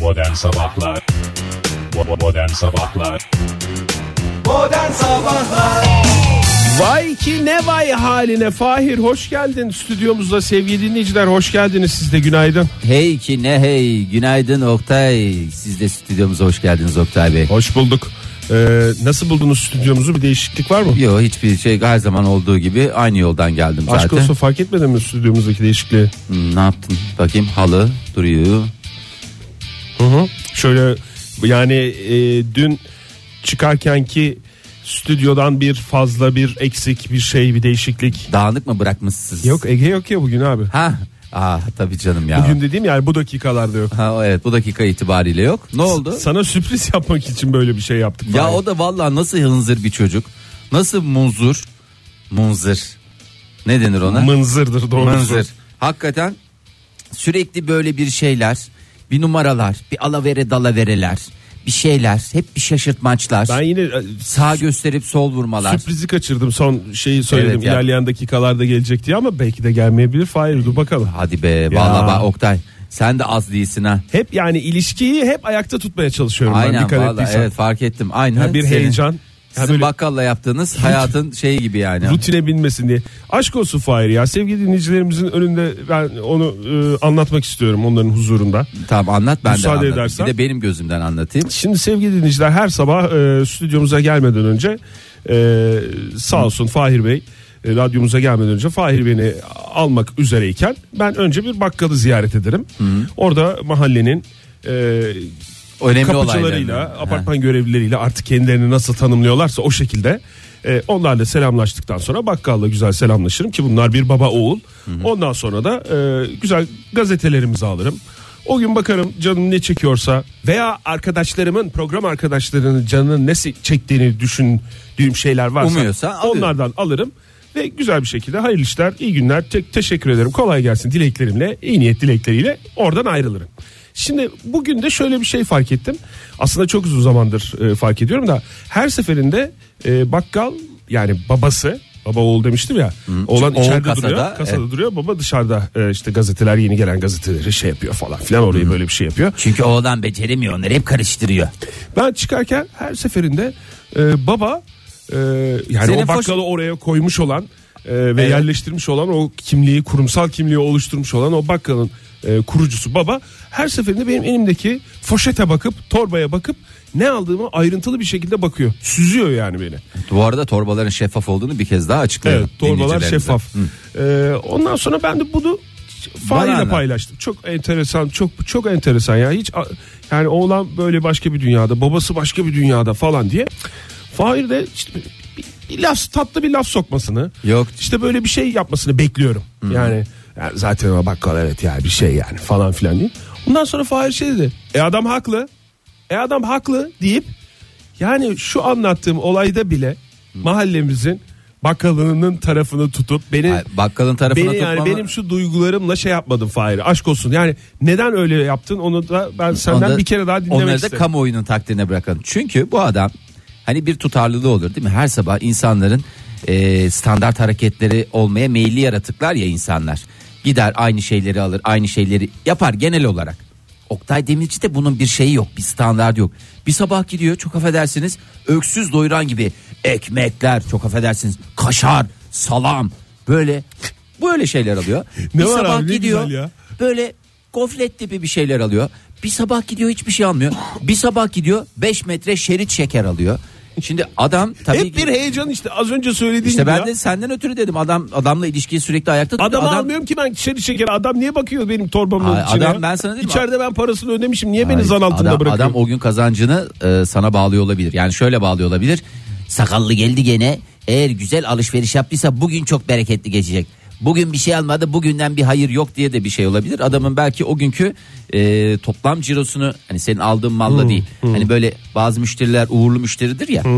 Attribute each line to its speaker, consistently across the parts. Speaker 1: Modern Sabahlar Bo- Modern Sabahlar
Speaker 2: Modern Sabahlar
Speaker 3: Vay ki ne vay haline Fahir hoş geldin stüdyomuzda sevgili dinleyiciler hoş geldiniz siz de günaydın.
Speaker 4: Hey ki ne hey günaydın Oktay siz de stüdyomuza hoş geldiniz Oktay Bey.
Speaker 3: Hoş bulduk. Ee, nasıl buldunuz stüdyomuzu bir değişiklik var mı?
Speaker 4: Yo hiçbir şey her zaman olduğu gibi aynı yoldan geldim zaten.
Speaker 3: Aşk olsun fark etmedin mi stüdyomuzdaki değişikliği?
Speaker 4: Hmm, ne yaptın bakayım halı duruyor.
Speaker 3: Hı hı. Şöyle yani e, dün çıkarkenki stüdyodan bir fazla bir eksik bir şey bir değişiklik.
Speaker 4: Dağınık mı bırakmışsınız?
Speaker 3: Yok Ege yok ya bugün abi.
Speaker 4: Ha ah tabii canım ya.
Speaker 3: Bugün dediğim yani bu dakikalarda yok.
Speaker 4: Ha evet bu dakika itibariyle yok. Ne oldu?
Speaker 3: Sana sürpriz yapmak için böyle bir şey yaptık.
Speaker 4: ya
Speaker 3: Fahir.
Speaker 4: o da vallahi nasıl hınzır bir çocuk. Nasıl munzur? Munzır. Ne denir ona?
Speaker 3: mınzırdır doğrusu.
Speaker 4: Mınzır. Hakikaten sürekli böyle bir şeyler, bir numaralar, bir alavere dalavereler, bir şeyler, hep bir şaşırtmaçlar.
Speaker 3: Ben yine e,
Speaker 4: Sağ gösterip sol vurmalar.
Speaker 3: Sürprizi kaçırdım son şeyi söyledim
Speaker 4: Evet ya.
Speaker 3: ilerleyen dakikalarda gelecek diye ama belki de gelmeyebilir. Hayır dur bakalım.
Speaker 4: Hadi be vallahi bak Oktay sen de az değilsin ha.
Speaker 3: Hep yani ilişkiyi hep ayakta tutmaya çalışıyorum ben
Speaker 4: Aynen
Speaker 3: dikkat
Speaker 4: vallahi
Speaker 3: ettiysen.
Speaker 4: evet fark ettim. Aynı
Speaker 3: Ha, bir
Speaker 4: senin-
Speaker 3: heyecan. Ha,
Speaker 4: Sizin
Speaker 3: böyle
Speaker 4: bakkalla yaptığınız hayatın şeyi gibi yani.
Speaker 3: rutine binmesin diye. Aşk olsun Fahir ya sevgili dinleyicilerimizin önünde ben onu e, anlatmak istiyorum onların huzurunda.
Speaker 4: Tamam anlat ben de
Speaker 3: Müsaade
Speaker 4: anlatayım.
Speaker 3: edersen.
Speaker 4: Bir de benim gözümden anlatayım.
Speaker 3: Şimdi sevgili dinleyiciler her sabah e, stüdyomuza gelmeden önce e, sağ olsun Fahir Bey e, radyomuza gelmeden önce Fahir beni almak üzereyken ben önce bir bakkalı ziyaret ederim. Orada mahallenin e,
Speaker 4: Önemli
Speaker 3: kapıcılarıyla,
Speaker 4: olaylarını.
Speaker 3: apartman görevlileriyle artık kendilerini nasıl tanımlıyorlarsa o şekilde e, onlarla selamlaştıktan sonra bakkalla güzel selamlaşırım ki bunlar bir baba oğul. Ondan sonra da e, güzel gazetelerimizi alırım. O gün bakarım canım ne çekiyorsa veya arkadaşlarımın program arkadaşlarının canının ne se- çektiğini düşündüğüm şeyler varsa
Speaker 4: Umuyorsa alıyorum.
Speaker 3: onlardan alırım ve güzel bir şekilde hayırlı işler, iyi günler, te- teşekkür ederim. Kolay gelsin dileklerimle, iyi niyet dilekleriyle oradan ayrılırım. Şimdi bugün de şöyle bir şey fark ettim. Aslında çok uzun zamandır e, fark ediyorum da her seferinde e, bakkal yani babası baba oğul demiştim ya. Olan
Speaker 4: Oğul
Speaker 3: içeride
Speaker 4: kasada,
Speaker 3: duruyor, kasada
Speaker 4: evet.
Speaker 3: duruyor. Baba dışarıda e, işte gazeteler yeni gelen gazeteleri şey yapıyor falan filan orayı böyle bir şey yapıyor.
Speaker 4: Çünkü oğlan beceremiyor onları hep karıştırıyor.
Speaker 3: Ben çıkarken her seferinde e, baba e, yani
Speaker 4: Senin
Speaker 3: o bakkalı oraya koymuş olan e, ve
Speaker 4: Evet.
Speaker 3: yerleştirmiş olan o kimliği kurumsal kimliği oluşturmuş olan o bakkalın e, kurucusu baba her seferinde benim elimdeki foşete bakıp torbaya bakıp ne aldığımı ayrıntılı bir şekilde bakıyor. Süzüyor yani beni.
Speaker 4: Bu arada torbaların şeffaf olduğunu bir kez daha açıklayalım.
Speaker 3: Evet, torbalar
Speaker 4: dinleyicilerimize.
Speaker 3: şeffaf. E, ondan sonra ben de bunu
Speaker 4: Bana
Speaker 3: Fahri'yle
Speaker 4: anlat.
Speaker 3: paylaştım. Çok enteresan, çok çok enteresan ya. Hiç a- yani oğlan böyle başka bir dünyada, babası başka bir dünyada falan diye. Fahir de işte bir, bir- bir laf tatlı bir laf sokmasını.
Speaker 4: Yok.
Speaker 3: İşte böyle bir şey yapmasını bekliyorum. Yani, yani zaten o bakkal evet ya bir şey yani falan filan diye. Ondan sonra Fahir şey dedi. E adam haklı. E adam haklı deyip yani şu anlattığım olayda bile mahallemizin bakkalının tarafını tutup beni
Speaker 4: Ay, Bakkalın tarafına
Speaker 3: Beni yani
Speaker 4: tutmama-
Speaker 3: benim şu duygularımla şey yapmadım Fahir. Aşk olsun. Yani neden öyle yaptın onu da ben senden
Speaker 4: Onda-
Speaker 3: bir kere daha dinlemek
Speaker 4: Onları da
Speaker 3: isterim.
Speaker 4: kamuoyunun takdirine bırakalım. Çünkü bu adam hani bir tutarlılığı olur değil mi? Her sabah insanların e, standart hareketleri olmaya meyilli yaratıklar ya insanlar. Gider aynı şeyleri alır, aynı şeyleri yapar genel olarak. Oktay Demirci de bunun bir şeyi yok, bir standardı yok. Bir sabah gidiyor çok affedersiniz öksüz doyuran gibi ekmekler çok affedersiniz kaşar, salam böyle böyle şeyler alıyor.
Speaker 3: Ne
Speaker 4: bir
Speaker 3: var
Speaker 4: sabah
Speaker 3: abi, ne
Speaker 4: gidiyor
Speaker 3: güzel ya.
Speaker 4: böyle gofret tipi bir şeyler alıyor. Bir sabah gidiyor hiçbir şey almıyor. Bir sabah gidiyor 5 metre şerit şeker alıyor. Şimdi adam tabii
Speaker 3: Hep
Speaker 4: ki-
Speaker 3: bir heyecan işte az önce söylediğim
Speaker 4: işte
Speaker 3: gibi
Speaker 4: ben
Speaker 3: ya.
Speaker 4: de senden ötürü dedim adam adamla ilişkiyi sürekli ayakta tutuyor.
Speaker 3: Adamı
Speaker 4: Adam-
Speaker 3: almıyorum ki ben şişeli şeker. Adam niye bakıyor benim torbamın
Speaker 4: Ay,
Speaker 3: içine?
Speaker 4: adam ben sana dedim-
Speaker 3: İçeride ben parasını ödemişim. Niye beni
Speaker 4: Hayır,
Speaker 3: zan altında
Speaker 4: adam,
Speaker 3: bırakıyor?
Speaker 4: Adam o gün kazancını e, sana bağlıyor olabilir. Yani şöyle bağlıyor olabilir. Sakallı geldi gene. Eğer güzel alışveriş yaptıysa bugün çok bereketli geçecek. Bugün bir şey almadı bugünden bir hayır yok diye de bir şey olabilir. Adamın belki o günkü e, toplam cirosunu hani senin aldığın
Speaker 3: Hmm,
Speaker 4: malla değil. Hani böyle bazı müşteriler uğurlu müşteridir ya. Belki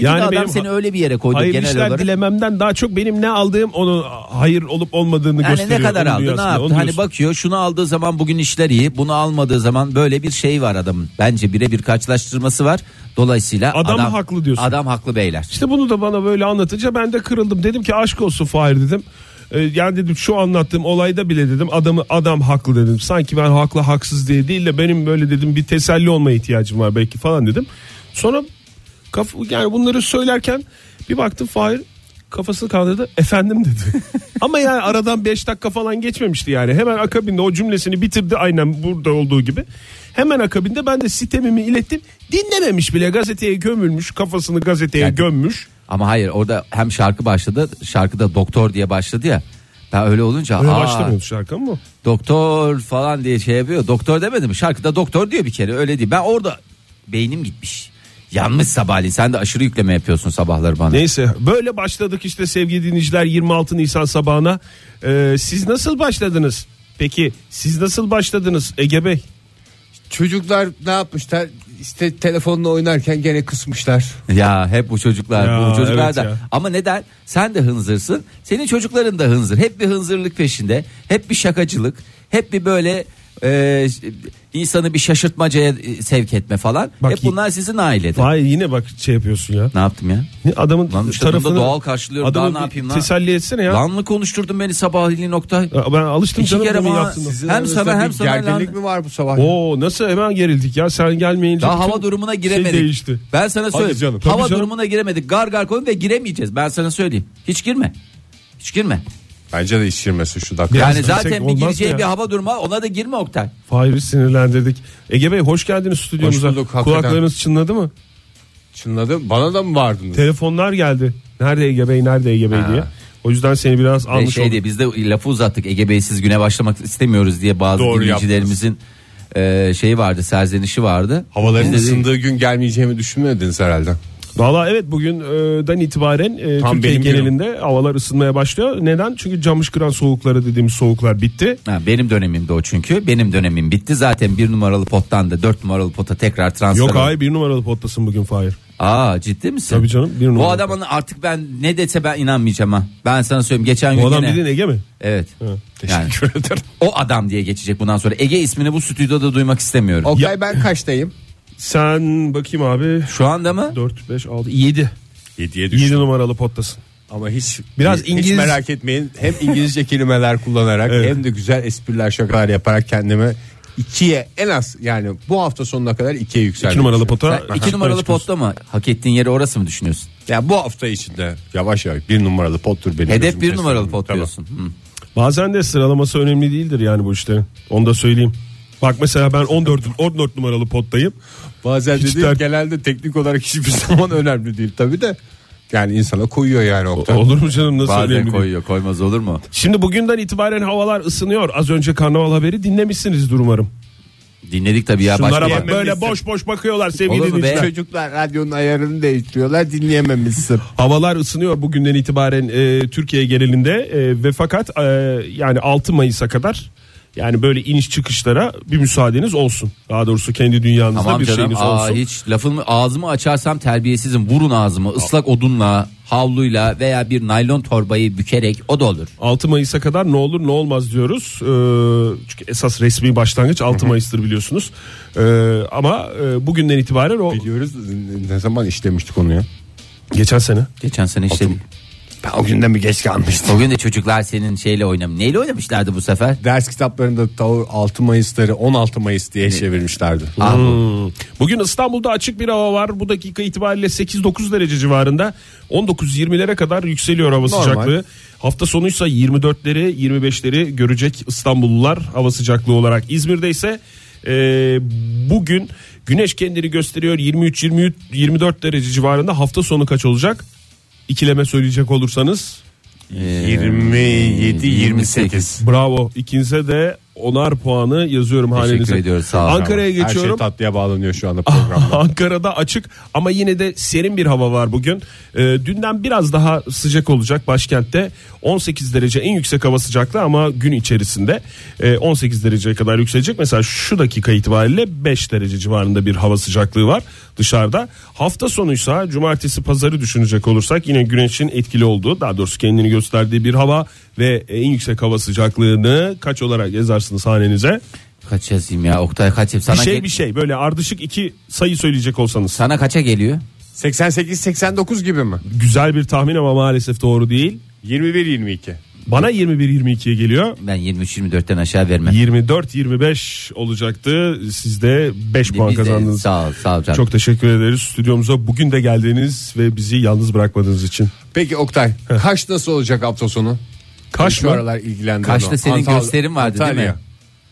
Speaker 3: Hmm. Yani
Speaker 4: de adam
Speaker 3: benim
Speaker 4: seni öyle bir yere koydu
Speaker 3: Hayırlı
Speaker 4: genel
Speaker 3: işler
Speaker 4: olarak.
Speaker 3: dilememden daha çok benim ne aldığım onun hayır olup olmadığını
Speaker 4: Yani ne
Speaker 3: gösteriyor.
Speaker 4: kadar
Speaker 3: Onun
Speaker 4: aldı ne
Speaker 3: dünyasında,
Speaker 4: yaptı
Speaker 3: onu
Speaker 4: hani
Speaker 3: diyorsun.
Speaker 4: bakıyor şunu aldığı zaman bugün işler iyi bunu almadığı zaman böyle bir şey var adamın bence birebir karşılaştırması var dolayısıyla
Speaker 3: Adam haklı diyorsun.
Speaker 4: adam haklı beyler
Speaker 3: İşte bunu da bana böyle anlatınca ben de kırıldım. Dedim ki aşk olsun Fahir dedim. E, yani dedim şu anlattığım olayda bile dedim adamı adam haklı dedim. Sanki ben haklı haksız diye değil de benim böyle dedim bir teselli olmaya ihtiyacım var belki falan dedim. Sonra kaf yani bunları söylerken bir baktım Fahir kafasını kaldırdı efendim dedi. Ama yani aradan 5 dakika falan geçmemişti yani. Hemen akabinde o cümlesini bitirdi aynen burada olduğu gibi. Hemen akabinde ben de sitemimi ilettim. Dinlememiş bile gazeteye gömülmüş kafasını gazeteye
Speaker 4: Yani-
Speaker 3: gömmüş.
Speaker 4: Ama hayır orada hem şarkı başladı şarkıda doktor diye başladı ya. Ben öyle olunca
Speaker 3: Öyle
Speaker 4: "Aa,
Speaker 3: başlamıyordu şarkı ama.
Speaker 4: doktor falan diye şey yapıyor. Doktor demedi mi? Şarkıda doktor diyor bir kere öyle değil. Ben orada beynim gitmiş. Yanmış sabahleyin sen de aşırı yükleme yapıyorsun sabahları bana.
Speaker 3: Neyse böyle başladık işte sevgili dinleyiciler 26 Nisan sabahına. Ee, siz nasıl başladınız? Peki siz nasıl başladınız Ege Bey?
Speaker 5: Çocuklar ne yapmışlar? İşte telefonla oynarken gene kısmışlar.
Speaker 4: Ya hep bu çocuklar
Speaker 3: Ya,
Speaker 4: bu çocuklar
Speaker 3: evet
Speaker 4: da
Speaker 3: ya.
Speaker 4: ama neden sen de hınzırsın senin çocukların da hınzır hep bir hınzırlık peşinde hep bir şakacılık hep bir böyle e, insanı bir şaşırtmacaya e, sevk etme falan
Speaker 3: Bak
Speaker 4: hep
Speaker 3: y-
Speaker 4: bunlar sizin ailede
Speaker 3: Vay yine bak şey yapıyorsun ya.
Speaker 4: ne yaptım ya
Speaker 3: Ne Adamın
Speaker 4: Lan işte
Speaker 3: tarafını
Speaker 4: bunda doğal karşılıyorum.
Speaker 3: adamı
Speaker 4: Daha ne
Speaker 3: bir
Speaker 4: yapayım lan?
Speaker 3: Teselli etsene ya.
Speaker 4: lan mı konuşturdun beni sabahleyin nokta
Speaker 3: Ya Ben alıştım
Speaker 4: İki
Speaker 3: canım
Speaker 4: kere
Speaker 3: bunun
Speaker 4: bana-
Speaker 3: yaptığına.
Speaker 4: Sizin Hem arasında Somer, hem bir Somer gerginlik
Speaker 5: gerginlik
Speaker 4: lan.
Speaker 5: mi var bu sabah?
Speaker 3: Oo nasıl hemen gerildik ya sen gelmeyince.
Speaker 4: daha
Speaker 3: bütün
Speaker 4: hava durumuna giremedik.
Speaker 3: Şey değişti.
Speaker 4: Ben sana söyleyeyim.
Speaker 3: canım.
Speaker 4: Hava
Speaker 3: Tabii canım.
Speaker 4: durumuna giremedik. Gar gar koyun ve giremeyeceğiz. Ben sana söyleyeyim. Hiç girme. Hiç girme.
Speaker 6: Bence de işirmesin şu dakika.
Speaker 3: Ya-
Speaker 4: Yani
Speaker 3: girsek
Speaker 4: zaten bir
Speaker 3: olmaz mı
Speaker 4: gireceği
Speaker 3: ya?
Speaker 4: bir hava durumu var. ona da girme Oktay.
Speaker 3: Fahir'i sinirlendirdik. Ege Bey hoş geldiniz stüdyomuza.
Speaker 6: Hoş bulduk, hakikaten.
Speaker 3: Kulaklarınız çınladı mı?
Speaker 6: Çınladı. Bana da mı vardınız?
Speaker 3: Telefonlar geldi. Nerede Ege Bey nerede Ege Bey diye. O yüzden seni biraz
Speaker 4: Ve
Speaker 3: almış
Speaker 4: şey
Speaker 3: olduk.
Speaker 4: diye biz de lafı uzattık. Ege Bey'siz güne başlamak istemiyoruz diye bazı
Speaker 6: Doğru
Speaker 4: dinleyicilerimizin e, şeyi vardı, serzenişi vardı.
Speaker 6: Havaların
Speaker 4: Biz de dedik,
Speaker 6: ısındığı gün gelmeyeceğimi düşünmediniz herhalde.
Speaker 3: Valla evet bugünden itibaren e,
Speaker 6: Tam
Speaker 3: Türkiye
Speaker 6: benim
Speaker 3: genelinde havalar ısınmaya başlıyor. Neden? Çünkü camışkıran soğukları dediğimiz soğuklar bitti.
Speaker 4: Ha, benim dönemimde o çünkü. Benim dönemim bitti. Zaten bir numaralı pottan da dört numaralı pota tekrar transfer.
Speaker 3: Yok
Speaker 4: oldu.
Speaker 3: hayır bir numaralı pottasın bugün Fahir.
Speaker 4: Aa ciddi misin?
Speaker 3: Tabii canım, bir
Speaker 4: Bu
Speaker 3: numaralı
Speaker 4: adamın artık ben ne dese ben inanmayacağım ha. Ben sana söyleyeyim geçen gün
Speaker 3: Bu adam
Speaker 4: yine-
Speaker 3: dediğin Ege mi?
Speaker 4: Evet. Yani, o adam diye geçecek bundan sonra. Ege ismini bu stüdyoda duymak istemiyorum.
Speaker 5: Oktay ben kaçtayım?
Speaker 3: Sen bakayım abi
Speaker 4: Şu anda mı?
Speaker 3: 4, 5, 6, 7.
Speaker 6: 7'ye
Speaker 3: 7 numaralı pottasın.
Speaker 6: Ama hiç
Speaker 3: Biraz
Speaker 6: hiç
Speaker 3: İngiliz-
Speaker 6: merak etmeyin. Hem İngilizce kelimeler kullanarak
Speaker 3: Evet.
Speaker 6: hem de güzel espriler şakalar yaparak kendimi ikiye en az yani bu hafta sonuna kadar ikiye yükseldim.
Speaker 3: 2 numaralı pota.
Speaker 4: Sen iki numaralı potta mı? Hak ettiğin yeri orası mı düşünüyorsun?
Speaker 6: Ya bu hafta içinde yavaş yavaş bir numaralı pottur benim.
Speaker 4: Hedef
Speaker 6: gözüm
Speaker 4: bir
Speaker 6: kesin.
Speaker 4: numaralı pot
Speaker 6: Tamam.
Speaker 4: diyorsun. Hı.
Speaker 3: Bazen de sıralaması önemli değildir yani bu işlerin. Onu da söyleyeyim. Bak mesela ben 14 14 numaralı pottayım.
Speaker 6: Bazen
Speaker 3: Hiç
Speaker 6: dediğim
Speaker 3: dert-
Speaker 6: genelde teknik olarak hiçbir zaman önemli değil tabii de. Yani insana koyuyor yani Oktay.
Speaker 3: Olur mu canım nasıl
Speaker 4: Bazen
Speaker 3: önemli değil.
Speaker 4: koyuyor koymaz olur mu?
Speaker 3: Şimdi bugünden itibaren havalar ısınıyor. Az önce karnaval haberi dinlemişsinizdir umarım.
Speaker 4: Dinledik tabii ya.
Speaker 3: Bunlara
Speaker 4: başka
Speaker 3: bak böyle boş boş bakıyorlar sevgili
Speaker 4: Olur mu be?
Speaker 3: dinleyiciler.
Speaker 5: Çocuklar radyonun ayarını değiştiriyorlar dinleyememişsin.
Speaker 3: Havalar ısınıyor bugünden itibaren e, Türkiye genelinde e, ve fakat e, yani 6 Mayıs'a kadar yani böyle iniş çıkışlara bir müsaadeniz olsun. Daha doğrusu kendi dünyanızda
Speaker 4: Tamam
Speaker 3: bir
Speaker 4: canım
Speaker 3: şeyiniz
Speaker 4: aa,
Speaker 3: olsun.
Speaker 4: hiç lafımı ağzımı açarsam terbiyesizim vurun ağzımı ıslak odunla havluyla veya bir naylon torbayı bükerek o da olur.
Speaker 3: 6 Mayıs'a kadar ne olur ne olmaz diyoruz. Ee, çünkü esas resmi başlangıç 6 Mayıs'tır biliyorsunuz. Ee, ama e, bugünden itibaren o
Speaker 6: Biliyoruz ne zaman işlemiştik onu ya.
Speaker 3: geçen sene
Speaker 4: Geçen sene işte
Speaker 6: Ben o günden bir geç kalmıştım.
Speaker 4: o gün de çocuklar senin şeyle oynamış. Neyle oynamışlardı bu sefer?
Speaker 6: Ders kitaplarında tav- 6 Mayıs'ları 16 Mayıs diye çevirmişlerdi.
Speaker 4: Ah,
Speaker 3: Hmm. Bugün İstanbul'da açık bir hava var. Bu dakika itibariyle 8-9 derece civarında. 19-20'lere kadar yükseliyor hava sıcaklığı. Hafta sonuysa 24'leri 25'leri görecek İstanbullular hava sıcaklığı olarak. İzmir'de ise e, bugün güneş kendini gösteriyor 23-24 derece civarında. Hafta sonu kaç olacak? İkileme söyleyecek olursanız
Speaker 6: Ee, 27 28.
Speaker 3: bravo. İkinize de onar puanı yazıyorum halinize.
Speaker 4: ediyoruz, sağ olun.
Speaker 3: Ankara'ya
Speaker 6: Her şey
Speaker 3: geçiyorum.
Speaker 6: tatlıya bağlanıyor şu anda programda.
Speaker 3: Ankara'da açık ama yine de serin bir hava var bugün. Ee, dünden biraz daha sıcak olacak başkentte. 18 derece en yüksek hava sıcaklığı ama gün içerisinde e, 18 dereceye kadar yükselecek. Mesela şu dakika itibariyle 5 derece civarında bir hava sıcaklığı var dışarıda. Hafta sonuysa cumartesi pazarı düşünecek olursak yine güneşin etkili olduğu daha doğrusu kendini gösterdiği bir hava ve en yüksek hava sıcaklığını kaç olarak yazarsınız hanenize?
Speaker 4: Kaç yazayım ya Oktay kaç yazayım? Sana,
Speaker 3: Bir şey
Speaker 4: gel-
Speaker 3: bir şey böyle ardışık iki sayı söyleyecek olsanız.
Speaker 4: sana kaça geliyor?
Speaker 6: 88 89 gibi mi?
Speaker 3: Güzel bir tahmin ama maalesef doğru değil.
Speaker 6: 21 22.
Speaker 3: Bana 21-22'ye geliyor.
Speaker 4: Ben 23-24'ten aşağı vermem.
Speaker 3: 24-25 olacaktı. Siz de 5 puan
Speaker 4: Biz de-
Speaker 3: kazandınız.
Speaker 4: Sağ ol, sağ ol canım.
Speaker 3: Çok teşekkür ederiz stüdyomuza bugün de geldiğiniz ve bizi yalnız bırakmadığınız için.
Speaker 5: Peki Oktay kaç nasıl olacak hafta sonu?
Speaker 3: Kaş
Speaker 5: Şu
Speaker 3: mı?
Speaker 5: aralar ilgilendim.
Speaker 4: Kaş'ta senin gösterin vardı değil mi?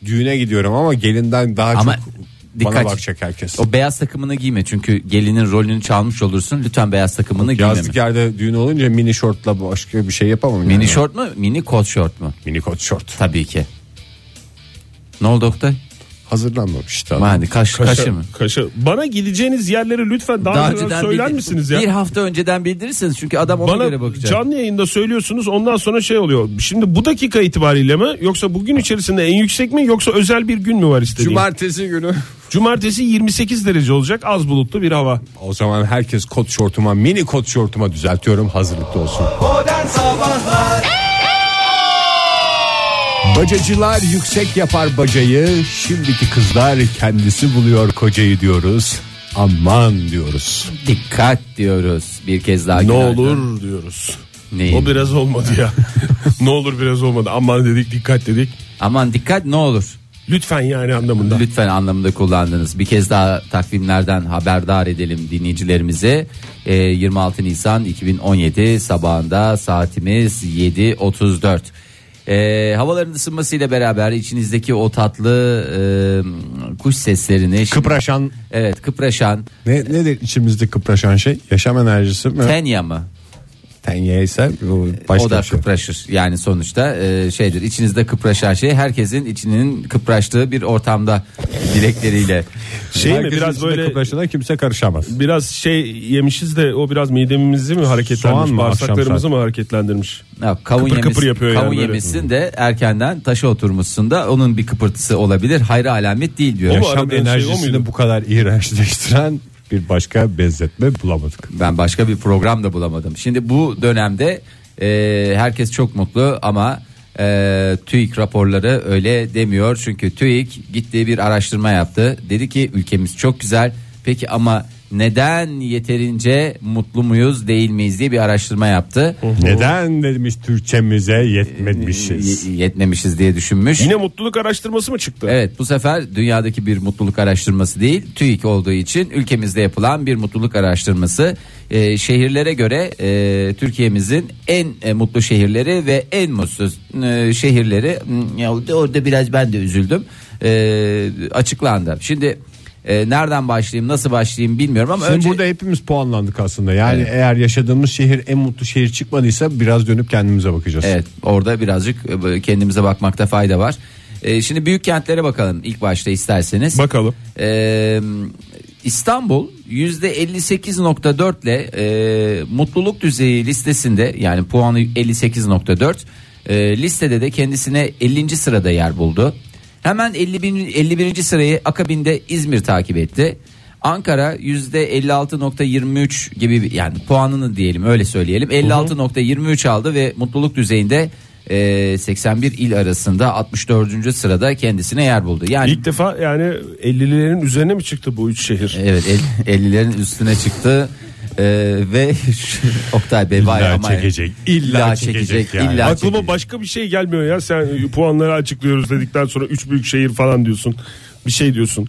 Speaker 5: Düğüne gidiyorum ama gelinden daha
Speaker 4: Ama
Speaker 5: çok
Speaker 4: dikkat.
Speaker 5: bana bakacak herkes.
Speaker 4: O beyaz takımını giyme çünkü gelinin rolünü çalmış olursun. Lütfen beyaz takımını giyme.
Speaker 5: Yazlık yerde düğün olunca mini şortla başka bir şey yapamam.
Speaker 4: Mini
Speaker 5: yani.
Speaker 4: şort mu? Mini kot şort mu?
Speaker 5: Mini kot şort.
Speaker 4: Tabii ki. Ne oldu Oktay?
Speaker 5: Hazırlanmamış daha.
Speaker 4: Hadi kaş, kaşı mı?
Speaker 3: Kaşa. Bana gideceğiniz yerleri lütfen daha, önceden söyler
Speaker 4: bildir-
Speaker 3: misiniz ya?
Speaker 4: Bir hafta önceden bildirirsiniz çünkü adam ona göre
Speaker 3: Bana
Speaker 4: bakacak.
Speaker 3: canlı yayında söylüyorsunuz ondan sonra şey oluyor. Şimdi bu dakika itibariyle mi yoksa bugün içerisinde en yüksek mi yoksa özel bir gün mü var istediğin?
Speaker 5: Cumartesi günü.
Speaker 3: Cumartesi 28 derece olacak az bulutlu bir hava.
Speaker 5: O zaman herkes kot şortuma mini kot şortuma düzeltiyorum hazırlıklı olsun.
Speaker 7: Modern Sabahlar
Speaker 5: Bacacılar yüksek yapar bacayı şimdiki kızlar kendisi buluyor kocayı diyoruz. Aman diyoruz.
Speaker 4: Dikkat diyoruz bir kez daha.
Speaker 3: Ne
Speaker 4: günaydın.
Speaker 3: olur diyoruz.
Speaker 4: Neyi?
Speaker 3: O biraz olmadı ya. ne olur biraz olmadı. Aman dedik dikkat dedik.
Speaker 4: Aman dikkat ne olur.
Speaker 3: Lütfen yani anlamında.
Speaker 4: Lütfen anlamında kullandınız. Bir kez daha takvimlerden haberdar edelim dinleyicilerimize. Ee, 26 Nisan 2017 sabahında saatimiz 7.34. Ee, havaların ısınmasıyla beraber içinizdeki o tatlı e, kuş seslerini... şimdi-
Speaker 5: Kıpraşan
Speaker 4: Evet kıpraşan.
Speaker 5: ne, nedir içimizde kıpraşan şey? Yaşam enerjisi mi?
Speaker 4: Tenya mı?
Speaker 5: Tenye ise bu başka
Speaker 4: o da
Speaker 5: bir şey.
Speaker 4: kıpraşır. Yani sonuçta e, şeydir. içinizde kıpraşan şey herkesin içinin kıpraştığı bir ortamda dilekleriyle.
Speaker 3: Şey mi
Speaker 5: Herkesin
Speaker 3: biraz
Speaker 5: içinde
Speaker 3: böyle
Speaker 5: kıpraşana kimse karışamaz.
Speaker 3: biraz şey yemişiz de o biraz midemizi mi hareketlendirmiş
Speaker 5: Soğan mı akşam
Speaker 3: bağırsaklarımızı
Speaker 5: saat?
Speaker 3: mı hareketlendirmiş?
Speaker 4: Ya, kavun
Speaker 3: Kıpır kıpır
Speaker 4: yemiş-
Speaker 3: yapıyor yani
Speaker 4: kavun
Speaker 3: böyle.
Speaker 4: yemişsin de erkenden taşa oturmuşsun da onun bir kıpırtısı olabilir. Hayra alamet değil diyor.
Speaker 3: O mu?
Speaker 5: Yaşam
Speaker 3: aradığın şey o
Speaker 5: enerjisini
Speaker 3: muydu?
Speaker 5: bu kadar iğrençleştiren bir başka benzetme bulamadık.
Speaker 4: Ben başka bir program da bulamadım. Şimdi bu dönemde e, herkes çok mutlu ama e, TÜİK raporları öyle demiyor. Çünkü TÜİK gittiği bir araştırma yaptı. Dedi ki ülkemiz çok güzel. Peki ama neden yeterince mutlu muyuz değil miyiz diye bir araştırma yaptı.
Speaker 5: Neden demiş Türkçemize yetmemişiz.
Speaker 4: Y- yetmemişiz diye düşünmüş.
Speaker 3: şey. Yine mutluluk araştırması mı çıktı?
Speaker 4: Evet bu sefer dünyadaki bir mutluluk araştırması değil TÜİK olduğu için ülkemizde yapılan bir mutluluk araştırması Ee, şehirlere göre e, Türkiye'mizin en e, mutlu şehirleri ve en mutsuz e, şehirleri Hmm, ya orada biraz ben de üzüldüm Ee, açıklandı. Şimdi e, nereden başlayayım nasıl başlayayım bilmiyorum ama
Speaker 5: Şimdi
Speaker 4: önce
Speaker 5: burada hepimiz puanlandık aslında. Yani eğer yaşadığımız şehir en mutlu şehir çıkmadıysa biraz dönüp kendimize bakacağız.
Speaker 4: Evet orada birazcık e, kendimize bakmakta fayda var. Ee, şimdi büyük kentlere bakalım ilk başta isterseniz.
Speaker 3: Bakalım.
Speaker 4: Ee, İstanbul %58.4 ile e, mutluluk düzeyi listesinde yani puanı 58.4 e, listede de kendisine 50. sırada yer buldu. Hemen 50 bin- 51. sırayı akabinde İzmir takip etti. Ankara %56.23 gibi bir- yani puanını diyelim öyle söyleyelim 56.23 aldı ve mutluluk düzeyinde e, 81 il arasında 64. sırada kendisine yer buldu. Yani
Speaker 3: İlk defa yani 50'lerin üzerine mi çıktı bu üç şehir?
Speaker 4: Evet el- 50'lerin üstüne çıktı. Ee, ve Oktay Bey vay
Speaker 5: İlla
Speaker 4: ama-
Speaker 5: çekecek, illa çekecek yani.
Speaker 4: illa
Speaker 3: Aklıma
Speaker 4: çekecek.
Speaker 3: başka bir şey gelmiyor ya sen puanları açıklıyoruz dedikten sonra üç büyük şehir falan diyorsun. Bir şey diyorsun.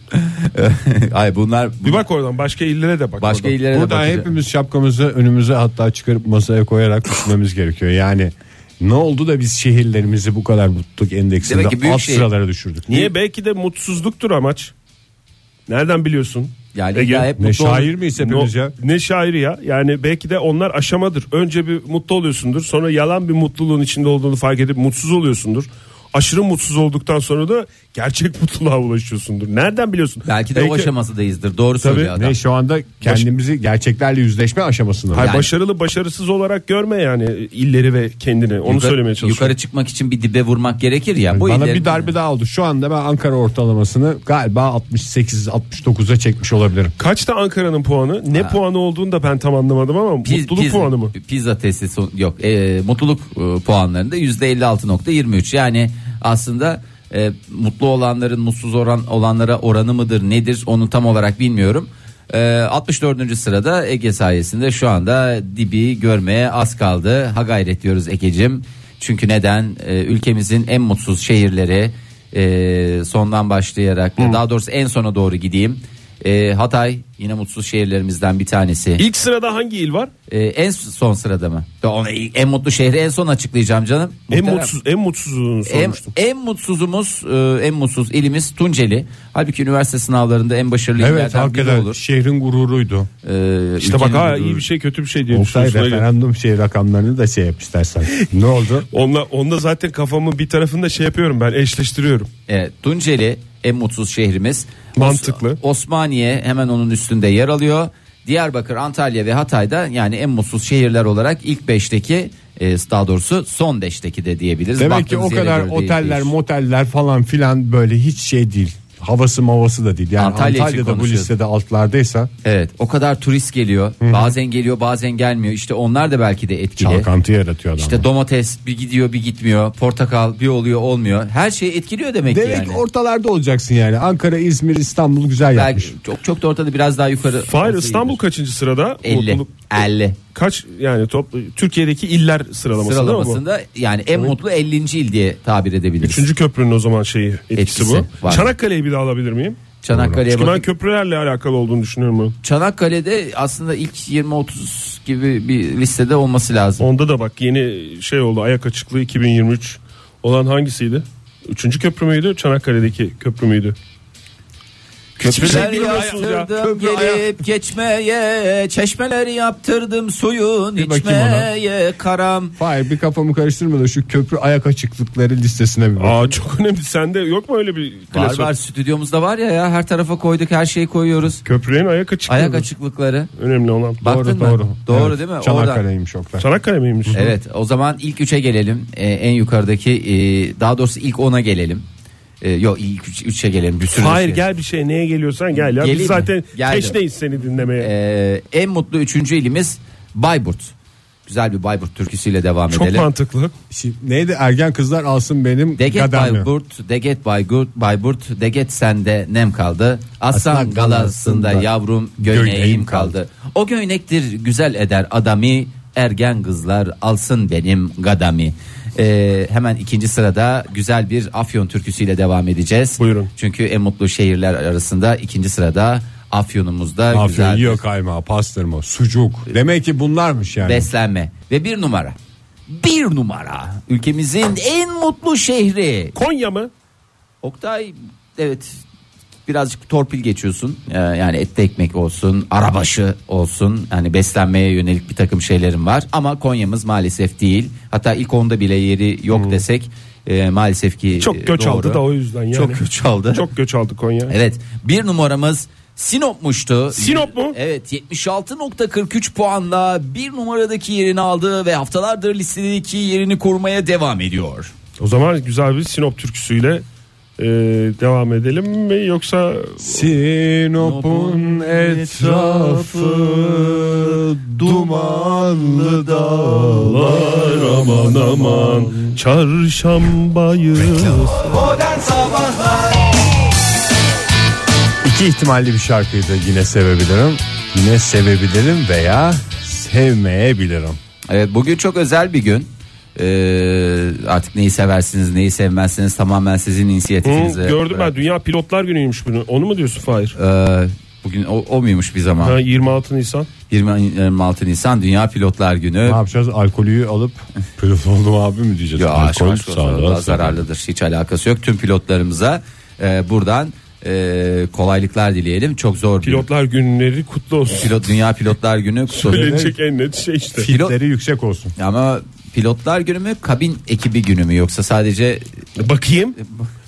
Speaker 4: Ay bunlar
Speaker 3: Bir bak oradan başka illere de bak.
Speaker 4: başka
Speaker 3: oradan.
Speaker 4: illere de
Speaker 5: Burada
Speaker 4: bakacağız.
Speaker 5: hepimiz şapkamızı önümüze hatta çıkarıp masaya koyarak düşünmemiz gerekiyor. Yani ne oldu da biz şehirlerimizi bu kadar mutluluk endeksinde
Speaker 4: Demek ki büyük
Speaker 5: alt
Speaker 4: şehir-
Speaker 5: sıralara düşürdük.
Speaker 3: Niye belki de mutsuzluktur amaç. Nereden biliyorsun?
Speaker 4: Yani
Speaker 3: Ege,
Speaker 4: illa hep
Speaker 5: Ne
Speaker 4: mutlu ol-
Speaker 5: şair miyiz hepimiz
Speaker 3: No-
Speaker 5: ya?
Speaker 3: Ne şairi ya. Yani belki de onlar aşamadır. Önce bir mutlu oluyorsundur. Sonra yalan bir mutluluğun içinde olduğunu fark edip mutsuz oluyorsundur. Aşırı mutsuz olduktan sonra da gerçek mutluluğa ulaşıyorsundur. Nereden biliyorsun?
Speaker 4: Belki de o aşamasıdayızdır. Doğru söylüyor adam.
Speaker 5: Ne şu anda kendimizi gerçeklerle yüzleşme aşamasında.
Speaker 3: Hayır,
Speaker 4: Yani-
Speaker 3: başarılı başarısız olarak görme yani illeri ve kendini. Onu
Speaker 4: Yukarı-
Speaker 3: söylemeye çalışıyorum.
Speaker 4: Yukarı çıkmak için bir dibe vurmak gerekir ya. Bu
Speaker 5: Bana
Speaker 4: illerin-
Speaker 5: bir darbe daha oldu. Şu anda ben Ankara ortalamasını galiba 68-69'a çekmiş olabilirim.
Speaker 3: Kaçta Ankara'nın puanı? Ne puanı olduğunu da ben tam anlamadım ama
Speaker 4: Piz-
Speaker 3: mutluluk
Speaker 4: piz-
Speaker 3: puanı mı?
Speaker 4: Pizza testi son- yok. Ee, mutluluk e, puanlarında %56.23. Yani aslında e, mutlu olanların mutsuz oran olanlara oranı mıdır nedir onu tam olarak bilmiyorum. Ee, 64. sırada Ege sayesinde şu anda dibi görmeye az kaldı. Ha gayret diyoruz Ege'cim. Çünkü neden? Ee, ülkemizin en mutsuz şehirleri e, sondan başlayarak daha doğrusu en sona doğru gideyim. Ee, Hatay yine mutsuz şehirlerimizden bir tanesi.
Speaker 3: İlk sırada hangi il var?
Speaker 4: Ee, en son sırada mı? Da onu en mutlu şehri en son açıklayacağım canım.
Speaker 3: En
Speaker 4: Muhterem.
Speaker 3: mutsuz en mutsuzluğunu
Speaker 4: En,
Speaker 3: sormuştum.
Speaker 4: en mutsuzumuz, e, en mutsuz ilimiz Tunceli. Halbuki üniversite sınavlarında en başarılı
Speaker 6: Evet
Speaker 4: illerden biri
Speaker 6: hakikaten
Speaker 4: olur.
Speaker 6: şehrin gururuydu.
Speaker 4: Ee,
Speaker 3: İşte bak
Speaker 4: ülkenin
Speaker 3: ha
Speaker 4: gururu.
Speaker 3: iyi bir şey kötü bir şey diye
Speaker 6: Oktay
Speaker 3: düşünüyorsun. Öyle.
Speaker 6: referandum şey rakamlarını da şey yap istersen. ne oldu?
Speaker 3: Onunla, onunla zaten kafamın bir tarafında şey yapıyorum ben eşleştiriyorum.
Speaker 4: Evet, Tunceli en mutsuz şehrimiz.
Speaker 3: Mantıklı.
Speaker 4: Os- Osmaniye hemen onun üstünde yer alıyor. Diyarbakır, Antalya ve Hatay'da yani en mutsuz şehirler olarak ilk beşteki e, daha doğrusu son beşteki de diyebiliriz.
Speaker 6: Demek ki o
Speaker 4: Baktığınız yere
Speaker 6: kadar
Speaker 4: göre değil-
Speaker 6: oteller,
Speaker 4: değişir.
Speaker 6: moteller falan filan böyle hiç şey değil. Havası mavası da değil. Yani
Speaker 4: Antalya için
Speaker 6: Antalya'da bu
Speaker 4: konuşuyoruz.
Speaker 6: listede altlardaysa
Speaker 4: Evet, o kadar turist geliyor. Bazen geliyor, bazen gelmiyor. İşte onlar da belki de etkili.
Speaker 6: çalkantı yaratıyor adam.
Speaker 4: İşte domates bir gidiyor bir gitmiyor. Portakal bir oluyor olmuyor. Her şey etkiliyor demek, ki
Speaker 6: Demek
Speaker 4: yani.
Speaker 6: ki ortalarda olacaksın yani. Ankara, İzmir, İstanbul güzel yapmış.
Speaker 4: Belki çok çok da ortada biraz daha yukarı.
Speaker 3: Fahir İstanbul kaçıncı sırada?
Speaker 4: 50.
Speaker 3: Mutluluk-
Speaker 4: 50.
Speaker 3: Kaç yani top, Türkiye'deki iller sıralamasında, mı bu?
Speaker 4: Sıralamasında yani en mutlu 50. il diye tabir edebiliriz.
Speaker 3: Üçüncü köprünün o zaman şeyi etkisi,
Speaker 4: Etkisi
Speaker 3: bu.
Speaker 4: var.
Speaker 3: Çanakkale'yi bir daha alabilir miyim?
Speaker 4: Çanakkale'ye
Speaker 3: Çünkü ben
Speaker 4: bakın.
Speaker 3: köprülerle alakalı olduğunu düşünüyorum bunu.
Speaker 4: Çanakkale'de aslında ilk 20-30 gibi bir listede olması lazım.
Speaker 3: Onda da bak yeni şey oldu ayak açıklığı 2023 olan hangisiydi? Üçüncü köprü müydü? Çanakkale'deki köprü müydü? Hiçbir şey
Speaker 4: Köprüler
Speaker 3: bilmiyorsunuz ya.
Speaker 4: yaptırdım
Speaker 3: Köprü ayak-
Speaker 4: gelip geçmeye Çeşmeler yaptırdım suyun
Speaker 6: bakayım
Speaker 4: içmeye Karam
Speaker 6: Hayır bir kafamı karıştırma da şu köprü ayak açıklıkları listesine bir bak.
Speaker 3: Aa çok önemli. Sende yok mu öyle bir
Speaker 4: Var
Speaker 3: klasör?
Speaker 4: var stüdyomuzda var ya ya her tarafa koyduk her şeyi koyuyoruz.
Speaker 3: Köprülerin ayak açıklığı.
Speaker 4: Ayak açıklıkları.
Speaker 3: Önemli olan.
Speaker 4: Baktın mı?
Speaker 6: Doğru.
Speaker 4: Doğru
Speaker 6: Evet,
Speaker 4: değil mi? Oradan.
Speaker 6: Çanakkale'ymiş Oktay.
Speaker 3: Çanakkale miymiş?
Speaker 4: Evet o zaman ilk üçe gelelim. Ee, en yukarıdaki e, daha doğrusu ilk ona gelelim. Ee, yok ilk üç, üçe gelelim. Bir sürü
Speaker 3: Hayır
Speaker 4: şey.
Speaker 3: gel bir şey neye geliyorsan gel ya.
Speaker 4: Geleyim mi?
Speaker 3: Biz zaten
Speaker 4: Geldim.
Speaker 3: teşneyiz seni dinlemeye.
Speaker 4: Ee, en mutlu üçüncü ilimiz Bayburt. Güzel bir Bayburt türküsüyle devam
Speaker 3: çok
Speaker 4: edelim.
Speaker 3: mantıklı.
Speaker 6: Şimdi neydi ergen kızlar alsın benim
Speaker 4: Deget
Speaker 6: gadamı.
Speaker 4: Bayburt, Deget Bayburt, Bayburt, Deget sende nem kaldı. Aslan
Speaker 6: Aslan
Speaker 4: galasında
Speaker 6: galasında
Speaker 4: yavrum göğneğim
Speaker 6: göğneğim
Speaker 4: kaldı. O göynektir güzel eder adami, ergen kızlar alsın benim gadami. Ee, hemen ikinci sırada güzel bir Afyon türküsüyle devam edeceğiz.
Speaker 3: Buyurun.
Speaker 4: Çünkü en mutlu şehirler arasında ikinci sırada Afyon'umuzda
Speaker 6: Afyon
Speaker 4: güzel bir
Speaker 6: yiyor kaymağı, pastırma, sucuk.
Speaker 4: Ee,
Speaker 6: Demek ki bunlarmış yani.
Speaker 4: beslenme ve bir numara. Bir numara ülkemizin en mutlu şehri
Speaker 3: Konya mı?
Speaker 4: Oktay evet birazcık torpil geçiyorsun. Ee, yani etli ekmek olsun, arabaşı olsun. Yani beslenmeye yönelik bir takım şeylerim var. Ama Konya'mız maalesef değil. Hatta ilk onda bile yeri yok desek e, maalesef ki e,
Speaker 3: Hmm. Çok göç
Speaker 4: doğru.
Speaker 3: aldı da o yüzden yani.
Speaker 4: Çok göç aldı.
Speaker 3: Çok göç aldı Konya.
Speaker 4: Evet bir numaramız Sinop'muştu.
Speaker 3: Sinop mu?
Speaker 4: Evet 76.43 puanla bir numaradaki yerini aldı ve haftalardır listedeki yerini korumaya devam ediyor.
Speaker 3: O zaman güzel bir Sinop türküsüyle e, devam edelim mi yoksa
Speaker 6: Sinop'un etrafı dumanlı dağlar
Speaker 3: aman aman çarşambayı
Speaker 2: Modern Sabahlar
Speaker 6: İki ihtimalli bir şarkıyı da yine sevebilirim. Yine sevebilirim veya sevmeyebilirim.
Speaker 4: Evet bugün çok özel bir gün. Ee, artık neyi seversiniz neyi sevmezsiniz tamamen sizin inisiyatifinizle.
Speaker 3: gördüm ben Dünya Pilotlar Günü'ymüş bunu. Onu mu diyorsun Fahir?
Speaker 4: Ee, bugün o, o muymuş bir zaman?
Speaker 3: Ha, 26 Nisan.
Speaker 4: 20 26 Nisan Dünya Pilotlar Günü.
Speaker 6: Ne yapacağız? Alkolüyü alıp pilot oldum abi mi diyeceğiz?
Speaker 4: Yo, aşk
Speaker 6: Alkol
Speaker 4: aşk olsun, daha zararlıdır. Hiç alakası yok. Tüm pilotlarımıza e, buradan e, kolaylıklar dileyelim. Çok zor. bir-
Speaker 3: Pilotlar Günleri kutlu olsun.
Speaker 4: Pilot Dünya Pilotlar Günü kutlu olsun.
Speaker 3: Söylenecek en net şey işte.
Speaker 6: Fitleri yüksek olsun.
Speaker 4: Ama pilotlar günü mü kabin ekibi günü mü yoksa sadece
Speaker 3: Bakayım.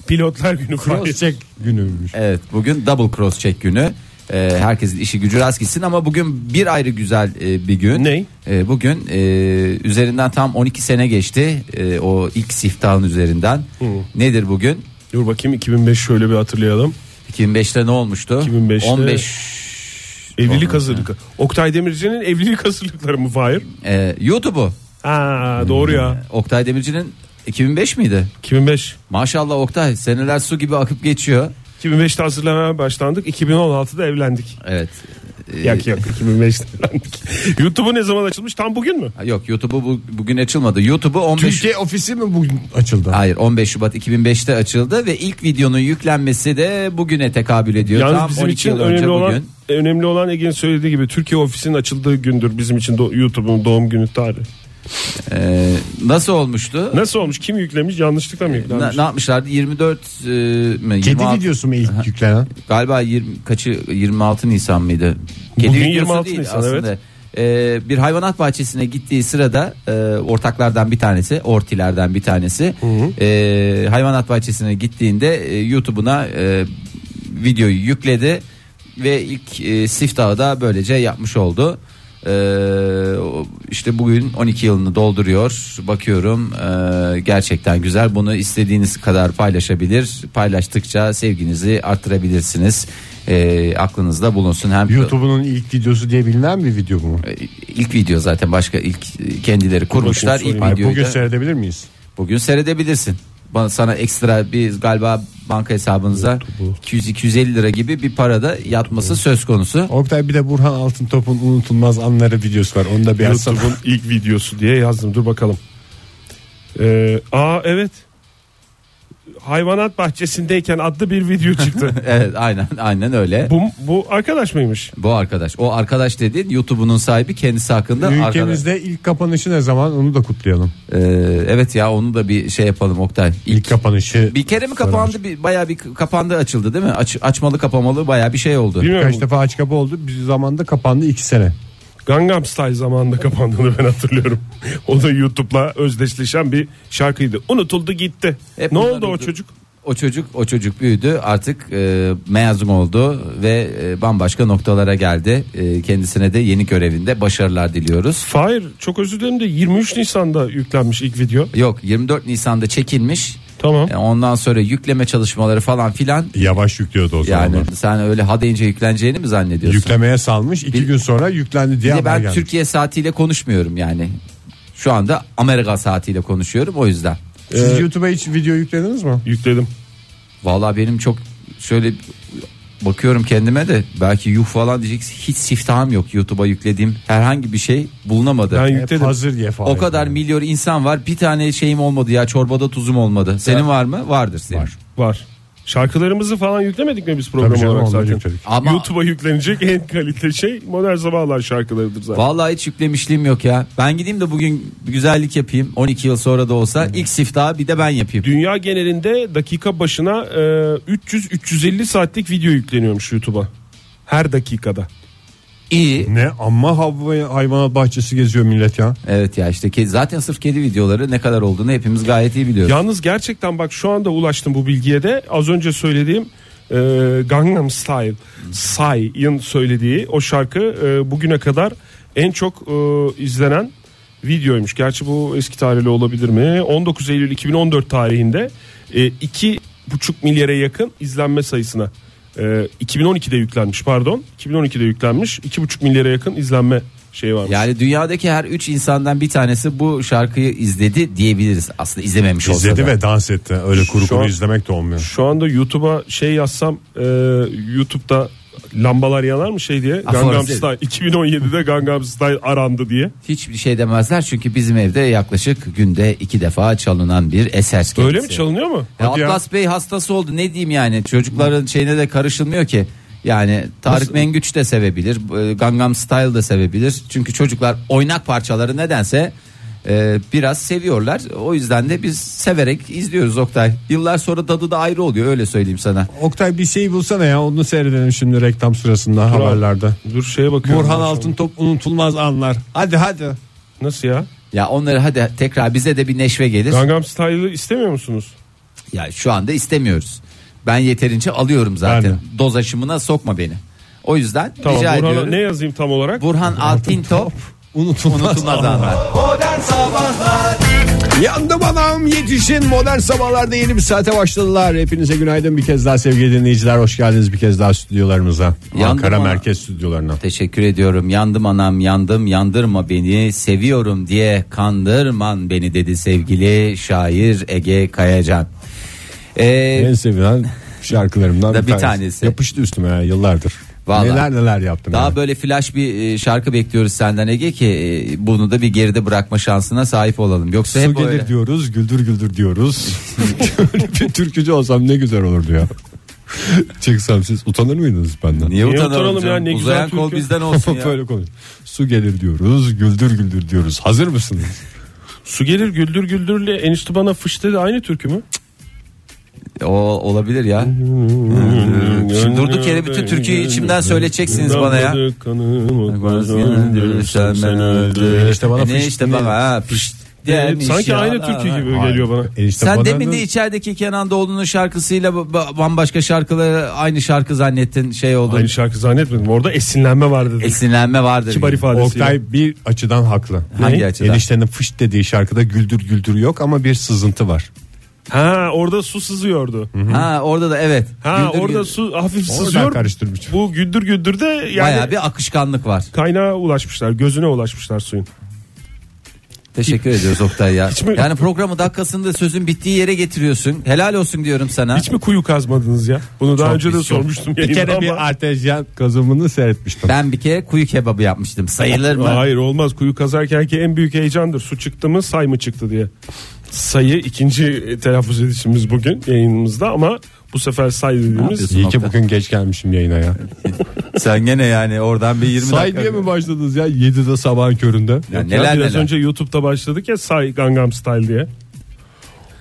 Speaker 3: Pilotlar Günü Fahir.
Speaker 6: Yüksek günüymüş.
Speaker 4: Evet bugün double cross check günü. Ee, herkesin işi gücü rast gitsin ama bugün bir ayrı güzel e, bir gün.
Speaker 3: Ney?
Speaker 4: Ee, bugün e, üzerinden tam 12 sene geçti e, o ilk siftahın üzerinden. Nedir bugün?
Speaker 3: Dur bakayım 2005 şöyle bir hatırlayalım.
Speaker 4: 2005'te ne olmuştu?
Speaker 3: 2005'te
Speaker 4: 15
Speaker 3: Evlilik
Speaker 4: Olmadı.
Speaker 3: hazırlık. Oktay Demirci'nin evlilik hazırlıkları mı Fahir?
Speaker 4: Ee, YouTube'u
Speaker 3: Ha doğru ya.
Speaker 4: Oktay Demirci'nin 2005 miydi?
Speaker 3: 2005.
Speaker 4: Maşallah Oktay seneler su gibi akıp geçiyor.
Speaker 3: 2005'te hazırlamaya başlandık. 2016'da evlendik.
Speaker 4: Evet.
Speaker 3: Yak yak 2005'ten. YouTube'u ne zaman açılmış? Tam bugün mü?
Speaker 4: Ha, Yok YouTube'u bu, bugün açılmadı. YouTube'u 15
Speaker 5: Türkiye ofisi mi bugün açıldı?
Speaker 4: Hayır 15 Şubat 2005'te açıldı ve ilk videonun yüklenmesi de bugüne tekabül ediyor.
Speaker 3: Yalnız
Speaker 4: Tam
Speaker 3: bizim
Speaker 4: 12
Speaker 3: için
Speaker 4: yıl önce
Speaker 3: önemli
Speaker 4: bugün.
Speaker 3: olan önemli olan Ege'nin söylediği gibi Türkiye ofisinin açıldığı gündür bizim için do- YouTube'un doğum günü tarihi.
Speaker 4: Ee, nasıl olmuştu?
Speaker 3: Nasıl olmuş? Kim yüklemiş? Yanlışlıkla mı
Speaker 4: Ee, Na-
Speaker 3: yüklenmiş?
Speaker 4: ne yapmışlardı? 24 e, mi?
Speaker 5: Kedi
Speaker 4: 26
Speaker 5: videosu mu ilk yüklenen?
Speaker 4: Galiba 20 kaçı 26 Nisan mıydı? Kedi
Speaker 3: Bugün
Speaker 4: videosu
Speaker 3: 26
Speaker 4: değil
Speaker 3: Nisan,
Speaker 4: aslında.
Speaker 3: evet.
Speaker 4: Ee, bir hayvanat bahçesine gittiği sırada e, ortaklardan bir tanesi, ortilerden bir tanesi e, hayvanat bahçesine gittiğinde e, YouTube'una e, videoyu yükledi ve ilk e, siftahı da böylece yapmış oldu. E, o- işte bugün 12 yılını dolduruyor. Bakıyorum e, gerçekten güzel. Bunu istediğiniz kadar paylaşabilir. Paylaştıkça sevginizi arttırabilirsiniz. E, aklınızda bulunsun hem
Speaker 5: YouTube'un ilk videosu diye bilinen bir video mu?
Speaker 4: e, ilk video zaten başka ilk e, kendileri kurmuşlar ilk
Speaker 5: Ay,
Speaker 4: videoyu
Speaker 5: bugün
Speaker 4: da-
Speaker 5: seyredebilir miyiz?
Speaker 4: bugün seyredebilirsin. Bana sana ekstra bir galiba banka hesabınıza 200 250 lira gibi bir parada yatması söz konusu.
Speaker 5: Oktay bir de Burhan Altıntop'un unutulmaz anları videosu var. Onu da bir açsana.
Speaker 3: YouTube'un ilk videosu diye yazdım. Dur bakalım. Ee, aa evet. Hayvanat bahçesindeyken adlı bir video çıktı.
Speaker 4: Evet aynen aynen öyle. Bu,
Speaker 3: bu, bu arkadaş mıymış?
Speaker 4: arkadaş. O arkadaş dediğin YouTube'unun sahibi kendisi hakkında arkadaş.
Speaker 5: Ülkemizde ilk kapanışı ne zaman onu da kutlayalım.
Speaker 4: Ee, evet ya onu da bir şey yapalım Oktay.
Speaker 5: İlk,
Speaker 4: İlk
Speaker 5: kapanışı
Speaker 4: bir kere mi kapandı? Bir, bayağı bir kapandı açıldı değil mi? Aç, açmalı kapamalı bayağı bir şey oldu.
Speaker 3: Bilmiyorum.
Speaker 5: kaç defa aç kapı oldu. Bir zamanda kapandı 2 sene.
Speaker 3: Gangnam Style zamanında kapandığını ben hatırlıyorum. o da YouTube'la özdeşleşen bir şarkıydı. Unutuldu gitti.
Speaker 4: Hep
Speaker 3: ne
Speaker 4: bunlar
Speaker 3: oldu o
Speaker 4: oldu.
Speaker 3: çocuk?
Speaker 4: O çocuk o çocuk büyüdü artık e, mezun oldu ve e, bambaşka noktalara geldi. E, kendisine de yeni görevinde başarılar diliyoruz.
Speaker 3: Fahir çok özür dilerim de 23 Nisan'da yüklenmiş ilk video.
Speaker 4: Yok 24 Nisan'da çekilmiş.
Speaker 3: Tamam.
Speaker 4: E, ondan sonra yükleme çalışmaları falan filan.
Speaker 5: Yavaş yüklüyordu o
Speaker 4: Yani
Speaker 5: zamanlar.
Speaker 4: sen öyle ha deyince yükleneceğini mi zannediyorsun?
Speaker 5: Yüklemeye salmış 2
Speaker 4: Bir-
Speaker 5: gün sonra yüklendi
Speaker 4: Bir
Speaker 5: diye
Speaker 4: de
Speaker 5: haber
Speaker 4: ben
Speaker 5: gelmiş.
Speaker 4: Türkiye saatiyle konuşmuyorum yani. Şu anda Amerika saatiyle konuşuyorum o yüzden. Ee,
Speaker 5: Siz YouTube'a hiç video yüklediniz mi?
Speaker 3: Yükledim.
Speaker 4: Vallahi benim çok şöyle bakıyorum kendime de belki yuh falan diyeceksin. Hiç siftahım yok YouTube'a yüklediğim herhangi bir şey bulunamadı.
Speaker 3: Ben
Speaker 5: Hep
Speaker 3: yükledim.
Speaker 5: hazır ye falan.
Speaker 4: o kadar milyar insan var. Bir tane şeyim olmadı ya. Çorbada tuzum olmadı. Senin var mı? Vardır senin.
Speaker 5: Var.
Speaker 3: Var. Şarkılarımızı falan yüklemedik mi biz
Speaker 5: Tabii
Speaker 3: program
Speaker 5: canım,
Speaker 3: olarak
Speaker 5: onları
Speaker 3: zaten?
Speaker 5: yükledik.
Speaker 4: Ama-
Speaker 3: YouTube'a yüklenecek en kalite şey modern sabahlar şarkılarıdır zaten.
Speaker 4: Vallahi hiç yüklemişliğim yok ya. Ben gideyim de bugün bir güzellik yapayım. 12 yıl sonra da olsa ilk siftahı bir de ben yapayım.
Speaker 3: Dünya genelinde dakika başına e, 300-350 saatlik video yükleniyormuş YouTube'a. Her dakikada.
Speaker 4: İyi.
Speaker 5: Ne amma hava hayvanat bahçesi geziyor millet ya.
Speaker 4: Evet ya işte ke- zaten sırf kedi videoları ne kadar olduğunu hepimiz gayet iyi biliyoruz.
Speaker 3: Yalnız gerçekten bak şu anda ulaştım bu bilgiye de az önce söylediğim e, Gangnam Style Psy'ın söylediği o şarkı e, bugüne kadar en çok e, izlenen videoymuş. Gerçi bu eski tarihli olabilir mi? 19 Eylül 2014 tarihinde e, iki buçuk milyara yakın izlenme sayısına e, 2012'de yüklenmiş pardon 2012'de yüklenmiş iki buçuk milyara yakın izlenme şeyi varmış.
Speaker 4: Yani dünyadaki her 3 insandan bir tanesi bu şarkıyı izledi diyebiliriz. Aslında izlememiş olsa
Speaker 5: İzledi
Speaker 4: da.
Speaker 5: ve dans etti. Öyle kuru
Speaker 3: Şu
Speaker 5: kuru
Speaker 3: an-
Speaker 5: izlemek de olmuyor.
Speaker 3: Şu anda YouTube'a şey yazsam e, YouTube'da lambalar yanar mı şey diye Gangnam
Speaker 4: Aforizm.
Speaker 3: Style 2017'de Gangnam Style arandı diye.
Speaker 4: Hiçbir şey demezler çünkü bizim evde yaklaşık günde iki defa çalınan bir eser kendisi.
Speaker 3: Öyle mi çalınıyor mu?
Speaker 4: Ya
Speaker 5: Hadi ya.
Speaker 4: Atlas Bey hastası oldu ne diyeyim yani çocukların şeyine de karışılmıyor ki. Yani Tarık Mengüç de sevebilir, e, Gangnam Style de sevebilir. Çünkü çocuklar oynak parçaları nedense e, biraz seviyorlar. O yüzden de biz severek izliyoruz Oktay. Yıllar sonra tadı da ayrı oluyor öyle söyleyeyim sana.
Speaker 5: Oktay bir şey bulsana ya onu seyredelim şimdi reklam sırasında haberlerde.
Speaker 3: Dur şeye bakıyorum.
Speaker 5: Burhan
Speaker 3: ben şu an.
Speaker 5: Altıntop unutulmaz anlar. Hadi hadi.
Speaker 3: Nasıl ya?
Speaker 4: Ya onları hadi tekrar bize de bir neşve gelir.
Speaker 3: Gangnam Style'ı istemiyor musunuz?
Speaker 4: Ya şu anda istemiyoruz. Ben yeterince alıyorum zaten. Doz aşımına sokma beni. O yüzden
Speaker 3: Tamam
Speaker 4: rica
Speaker 3: Burhan'a
Speaker 4: ediyorum.
Speaker 3: ne yazayım tam olarak?
Speaker 4: Burhan Altintop
Speaker 5: Unutulmaz,
Speaker 4: unutulmaz
Speaker 5: anlar.
Speaker 4: anlar.
Speaker 2: Modern Sabahlar
Speaker 5: Yandım anam yetişin modern sabahlarda yeni bir saate başladılar. Hepinize günaydın bir kez daha sevgili dinleyiciler. Hoş geldiniz bir kez daha stüdyolarımıza.
Speaker 4: Yandım
Speaker 5: Ankara
Speaker 4: anam.
Speaker 5: merkez stüdyolarına.
Speaker 4: Teşekkür ediyorum. Yandım anam yandım yandırma beni seviyorum diye kandırman beni dedi sevgili şair Ege Kayacan. Ee,
Speaker 5: En sevilen şarkılarımdan
Speaker 4: Da
Speaker 5: bir
Speaker 4: bir
Speaker 5: tanesi.
Speaker 4: tanesi.
Speaker 5: Yapıştı üstüme ya, yıllardır.
Speaker 4: Vallahi.
Speaker 5: Neler neler yaptın.
Speaker 4: Daha
Speaker 5: yani.
Speaker 4: böyle flash bir e, şarkı bekliyoruz senden Ege ki e, bunu da bir geride bırakma şansına sahip olalım. Yoksa
Speaker 5: Su
Speaker 4: hep
Speaker 5: gelir
Speaker 4: böyle.
Speaker 5: diyoruz güldür güldür diyoruz. Şöyle bir türkücü olsam ne güzel olurdu ya. Çıksam siz utanır mıydınız benden?
Speaker 4: Niye,
Speaker 3: Niye
Speaker 4: utanalım
Speaker 3: utanalım
Speaker 4: canım?
Speaker 3: ya? Ne güzel
Speaker 4: Uzayan kol
Speaker 3: türkü.
Speaker 4: bizden olsun ya.
Speaker 5: Böyle konuş. Su gelir diyoruz güldür güldür diyoruz. Hazır mısınız?
Speaker 3: Su gelir güldür güldürle enişte bana fış dedi aynı türkü mü?
Speaker 4: E, O olabilir ya. Şimdi durduk yere bütün Türkiye'yi içimden söyleyeceksiniz bana ya.
Speaker 3: Damladı kanım,
Speaker 4: Sen beni öldür.
Speaker 5: Enişte bana
Speaker 4: E
Speaker 5: fış-
Speaker 4: ne işte bana Ee, ha, fış demiş
Speaker 3: Sanki
Speaker 4: ya.
Speaker 3: aynı türkü gibi geliyor bana.
Speaker 5: Enişte
Speaker 4: Sen
Speaker 5: bana
Speaker 4: demin
Speaker 5: da-
Speaker 4: de içerideki Kenan Doğulu'nun şarkısıyla ba- ba- bambaşka şarkıları aynı şarkı zannettin şey oldu.
Speaker 3: Aynı şarkı zannetmedim. Orada esinlenme vardı. dedi.
Speaker 4: Esinlenme vardır.
Speaker 3: Kibar ifadesiyle.
Speaker 5: Oktay bir açıdan haklı.
Speaker 4: Hangi
Speaker 5: Ne?
Speaker 4: açıdan?
Speaker 5: Eniştenin fış dediği şarkıda güldür güldür yok ama bir sızıntı var.
Speaker 3: Ha orada su sızıyordu.
Speaker 4: Ha orada da evet.
Speaker 3: Ha
Speaker 4: Güldür
Speaker 3: orada
Speaker 4: güldür.
Speaker 3: su hafif
Speaker 5: Oradan
Speaker 3: sızıyor.
Speaker 5: karıştırmış.
Speaker 3: Bu güldür güldür de yani
Speaker 4: Bayağı bir akışkanlık var.
Speaker 3: kaynağa ulaşmışlar. Gözüne ulaşmışlar suyun.
Speaker 4: Teşekkür ediyoruz Oktay ya.
Speaker 3: mi-
Speaker 4: Yani programı dakikasında sözün bittiği yere getiriyorsun. Helal olsun diyorum sana.
Speaker 3: Hiç mi kuyu kazmadınız ya? Bunu daha önce de
Speaker 4: biz çok.
Speaker 3: sormuştum.
Speaker 5: Bir kere
Speaker 3: yayında ama-
Speaker 5: bir artezyen kazımını seyretmiştim.
Speaker 4: Ben bir kere kuyu kebabı yapmıştım. Sayılır mı?
Speaker 3: Hayır olmaz kuyu kazarken ki en büyük heyecandır. Su çıktı mı say mı çıktı diye. Sayı ikinci e, telaffuz edişimiz bugün yayınımızda ama bu sefer say dediğimiz
Speaker 4: yapıyorsun?
Speaker 5: İyi ki bugün geç gelmişim yayına ya.
Speaker 4: Sen gene yani oradan bir 20
Speaker 5: Say diye mi başladınız ya 7'de sabahın köründe?
Speaker 4: Ya
Speaker 3: Ya
Speaker 4: neler
Speaker 3: biraz
Speaker 4: neler.
Speaker 3: önce YouTube'da başladık ya say Gangnam Style diye.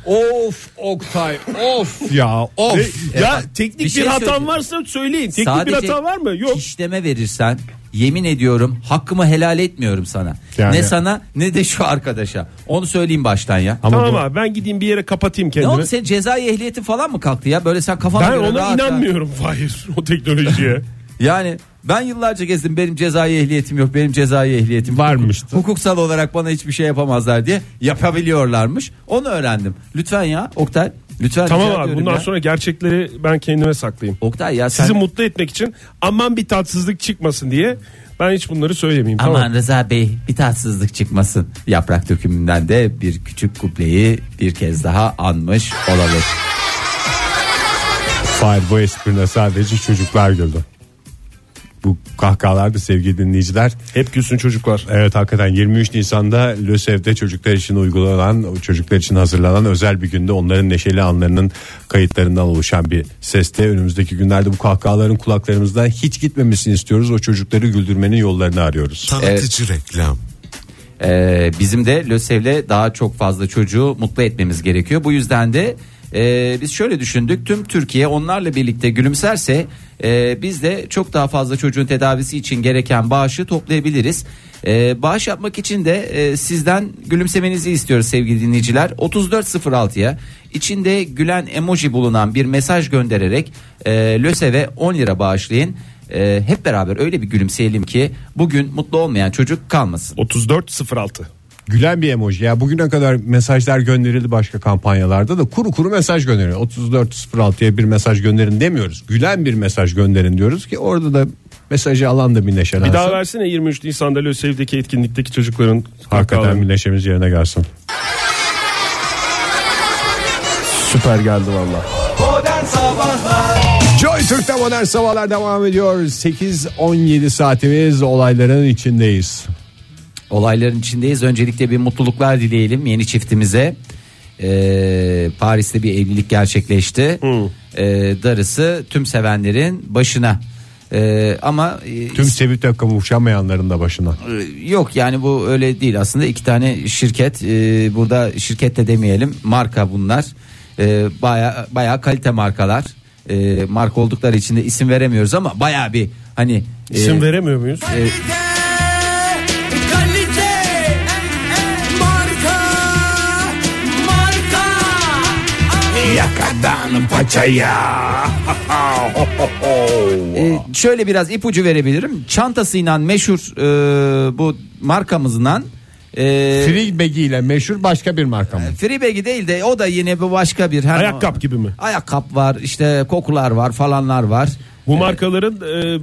Speaker 5: Of Oktay of ya of.
Speaker 3: ya teknik
Speaker 4: bir
Speaker 3: bir,
Speaker 4: şey söyleyeceğim.
Speaker 3: hatan varsa söyleyin. Teknik
Speaker 4: Sadece
Speaker 3: bir hata var mı? Yok.
Speaker 4: İşleme verirsen yemin ediyorum hakkımı helal etmiyorum sana.
Speaker 5: Yani-
Speaker 4: Ne sana ne de şu arkadaşa. Onu söyleyeyim baştan ya.
Speaker 5: Ama
Speaker 3: tamam
Speaker 5: bu-
Speaker 3: abi ben gideyim bir yere kapatayım
Speaker 4: Ne
Speaker 3: kendimi.
Speaker 4: oldu senin cezai ehliyetin falan mı kalktı ya? Böyle sen kafana
Speaker 3: ben
Speaker 4: göre
Speaker 3: ona
Speaker 4: rahat rahat-
Speaker 3: inanmıyorum Fahir o teknolojiye.
Speaker 4: Yani ben yıllarca gezdim benim cezai ehliyetim yok benim cezai ehliyetim
Speaker 5: Varmıştı.
Speaker 4: Hukuksal olarak bana hiçbir şey yapamazlar diye yapabiliyorlarmış. Onu öğrendim. Lütfen ya Oktay. Lütfen
Speaker 3: tamam
Speaker 4: rica
Speaker 3: abi
Speaker 4: ediyorum
Speaker 3: bundan
Speaker 4: ya.
Speaker 3: sonra gerçekleri ben kendime saklayayım.
Speaker 4: Oktay ya sen
Speaker 3: Sizi mutlu etmek için aman bir tatsızlık çıkmasın diye ben hiç bunları söylemeyeyim.
Speaker 4: Aman
Speaker 3: Tamam.
Speaker 4: Rıza Bey bir tatsızlık çıkmasın. Yaprak dökümünden de bir küçük kupleyi bir kez daha anmış olalım.
Speaker 5: Hayır bu esprine sadece çocuklar güldü. Bu kahkahalar da sevgili dinleyiciler.
Speaker 3: Hep gülsün çocuklar.
Speaker 5: Evet hakikaten 23 Nisan'da LÖSEV'de çocuklar için uygulanan, çocuklar için hazırlanan özel bir günde onların neşeli anlarının kayıtlarından oluşan bir seste. Önümüzdeki günlerde bu kahkahaların kulaklarımızdan hiç gitmemesini istiyoruz. O çocukları güldürmenin yollarını arıyoruz.
Speaker 2: Tanıtıcı reklam.
Speaker 4: Ee, bizim de LÖSEV'le daha çok fazla çocuğu mutlu etmemiz gerekiyor. Bu yüzden de e, biz şöyle düşündük. Tüm Türkiye onlarla birlikte gülümserse e, biz de çok daha fazla çocuğun tedavisi için gereken bağışı toplayabiliriz. E, bağış yapmak için de e, sizden gülümsemenizi istiyoruz sevgili dinleyiciler. 3406'ya içinde gülen emoji bulunan bir mesaj göndererek e, LÖSEV'e 10 lira bağışlayın. E, hep beraber öyle bir gülümseyelim ki bugün mutlu olmayan çocuk kalmasın.
Speaker 3: 3406.
Speaker 5: Gülen bir emoji. Ya bugüne kadar mesajlar gönderildi başka kampanyalarda da kuru kuru mesaj gönderin. 3406'ya bir mesaj gönderin demiyoruz. Gülen bir mesaj gönderin diyoruz ki orada da mesajı alan da bir neşelensin.
Speaker 3: Bir daha versene 23 Nisan'da LÖSEV'deki etkinlikteki çocukların
Speaker 5: Hakikaten
Speaker 3: kahkahalarını.
Speaker 5: bir neşemiz yerine gelsin.
Speaker 3: Süper geldi valla.
Speaker 2: Modern Sabahlar
Speaker 5: Joy Türk'te modern sabahlar devam ediyor. 8-17 saatimiz olayların içindeyiz.
Speaker 4: Olayların içindeyiz. Öncelikle bir mutluluklar dileyelim yeni çiftimize. Ee, Paris'te bir evlilik gerçekleşti. Ee, darısı tüm sevenlerin başına. Ee, ama e,
Speaker 5: Tüm sevip de kavuşamayanların da başına.
Speaker 4: e, yok yani bu öyle değil aslında iki tane şirket e, burada şirket de demeyelim marka bunlar e, baya baya kalite markalar e, marka oldukları için de isim veremiyoruz ama baya bir hani e,
Speaker 3: İsim veremiyor muyuz?
Speaker 4: Ee, şöyle biraz ipucu verebilirim. Çantasıyla meşhur e, bu markamızdan
Speaker 3: Ee,
Speaker 4: e,
Speaker 5: Freebag ile meşhur başka bir marka mı?
Speaker 4: Freebag'i değil de o da yine bir başka bir. Her
Speaker 3: Ayakkap gibi mi?
Speaker 4: Ayakkap var işte kokular var falanlar var.
Speaker 3: Bu markaların e,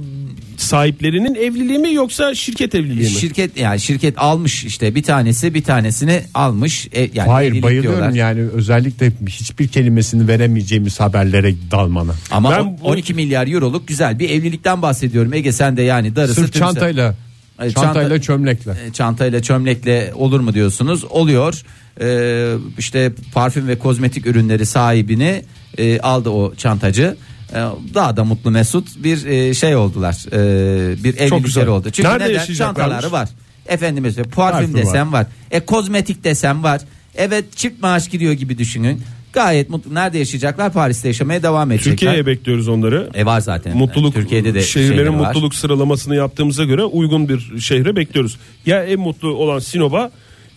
Speaker 3: sahiplerinin evliliği mi yoksa şirket evliliği mi?
Speaker 4: Şirket yani şirket almış işte bir tanesi bir tanesini almış. E, yani
Speaker 5: Hayır
Speaker 4: evlilik
Speaker 5: bayılıyorum
Speaker 4: diyorlar.
Speaker 5: yani özellikle hiçbir kelimesini veremeyeceğimiz haberlere dalmana.
Speaker 4: Ama
Speaker 3: Ben
Speaker 4: on-
Speaker 3: bu-
Speaker 4: 12 milyar euroluk güzel bir evlilikten bahsediyorum. Ege sen de yani darısı
Speaker 5: Sırf
Speaker 4: tümse-
Speaker 5: çantayla.
Speaker 4: Hayır, çanta-
Speaker 5: çantayla çömlekle.
Speaker 4: E, çantayla çömlekle olur mu diyorsunuz? Oluyor. Ee, işte parfüm ve kozmetik ürünleri sahibini e, aldı o çantacı. Ee, daha da mutlu mesut bir e, şey oldular. Ee, bir
Speaker 3: güzel.
Speaker 4: evlilikleri oldu. Çünkü
Speaker 3: Nerede
Speaker 4: neden?
Speaker 3: yaşayacaklarmış?
Speaker 4: Çantaları var. Efendimiz parfüm, desem var. E kozmetik desem var. Evet çift maaş gidiyor gibi düşünün. Gayet mutlu. Nerede yaşayacaklar? Paris'te yaşamaya devam edecekler.
Speaker 3: Türkiye'ye bekliyoruz onları.
Speaker 4: E var zaten.
Speaker 3: Mutluluk
Speaker 4: Türkiye'de de
Speaker 3: şehirlerin
Speaker 4: şeyleri var.
Speaker 3: mutluluk sıralamasını yaptığımıza göre uygun bir şehre bekliyoruz. Ya en mutlu olan Sinop'a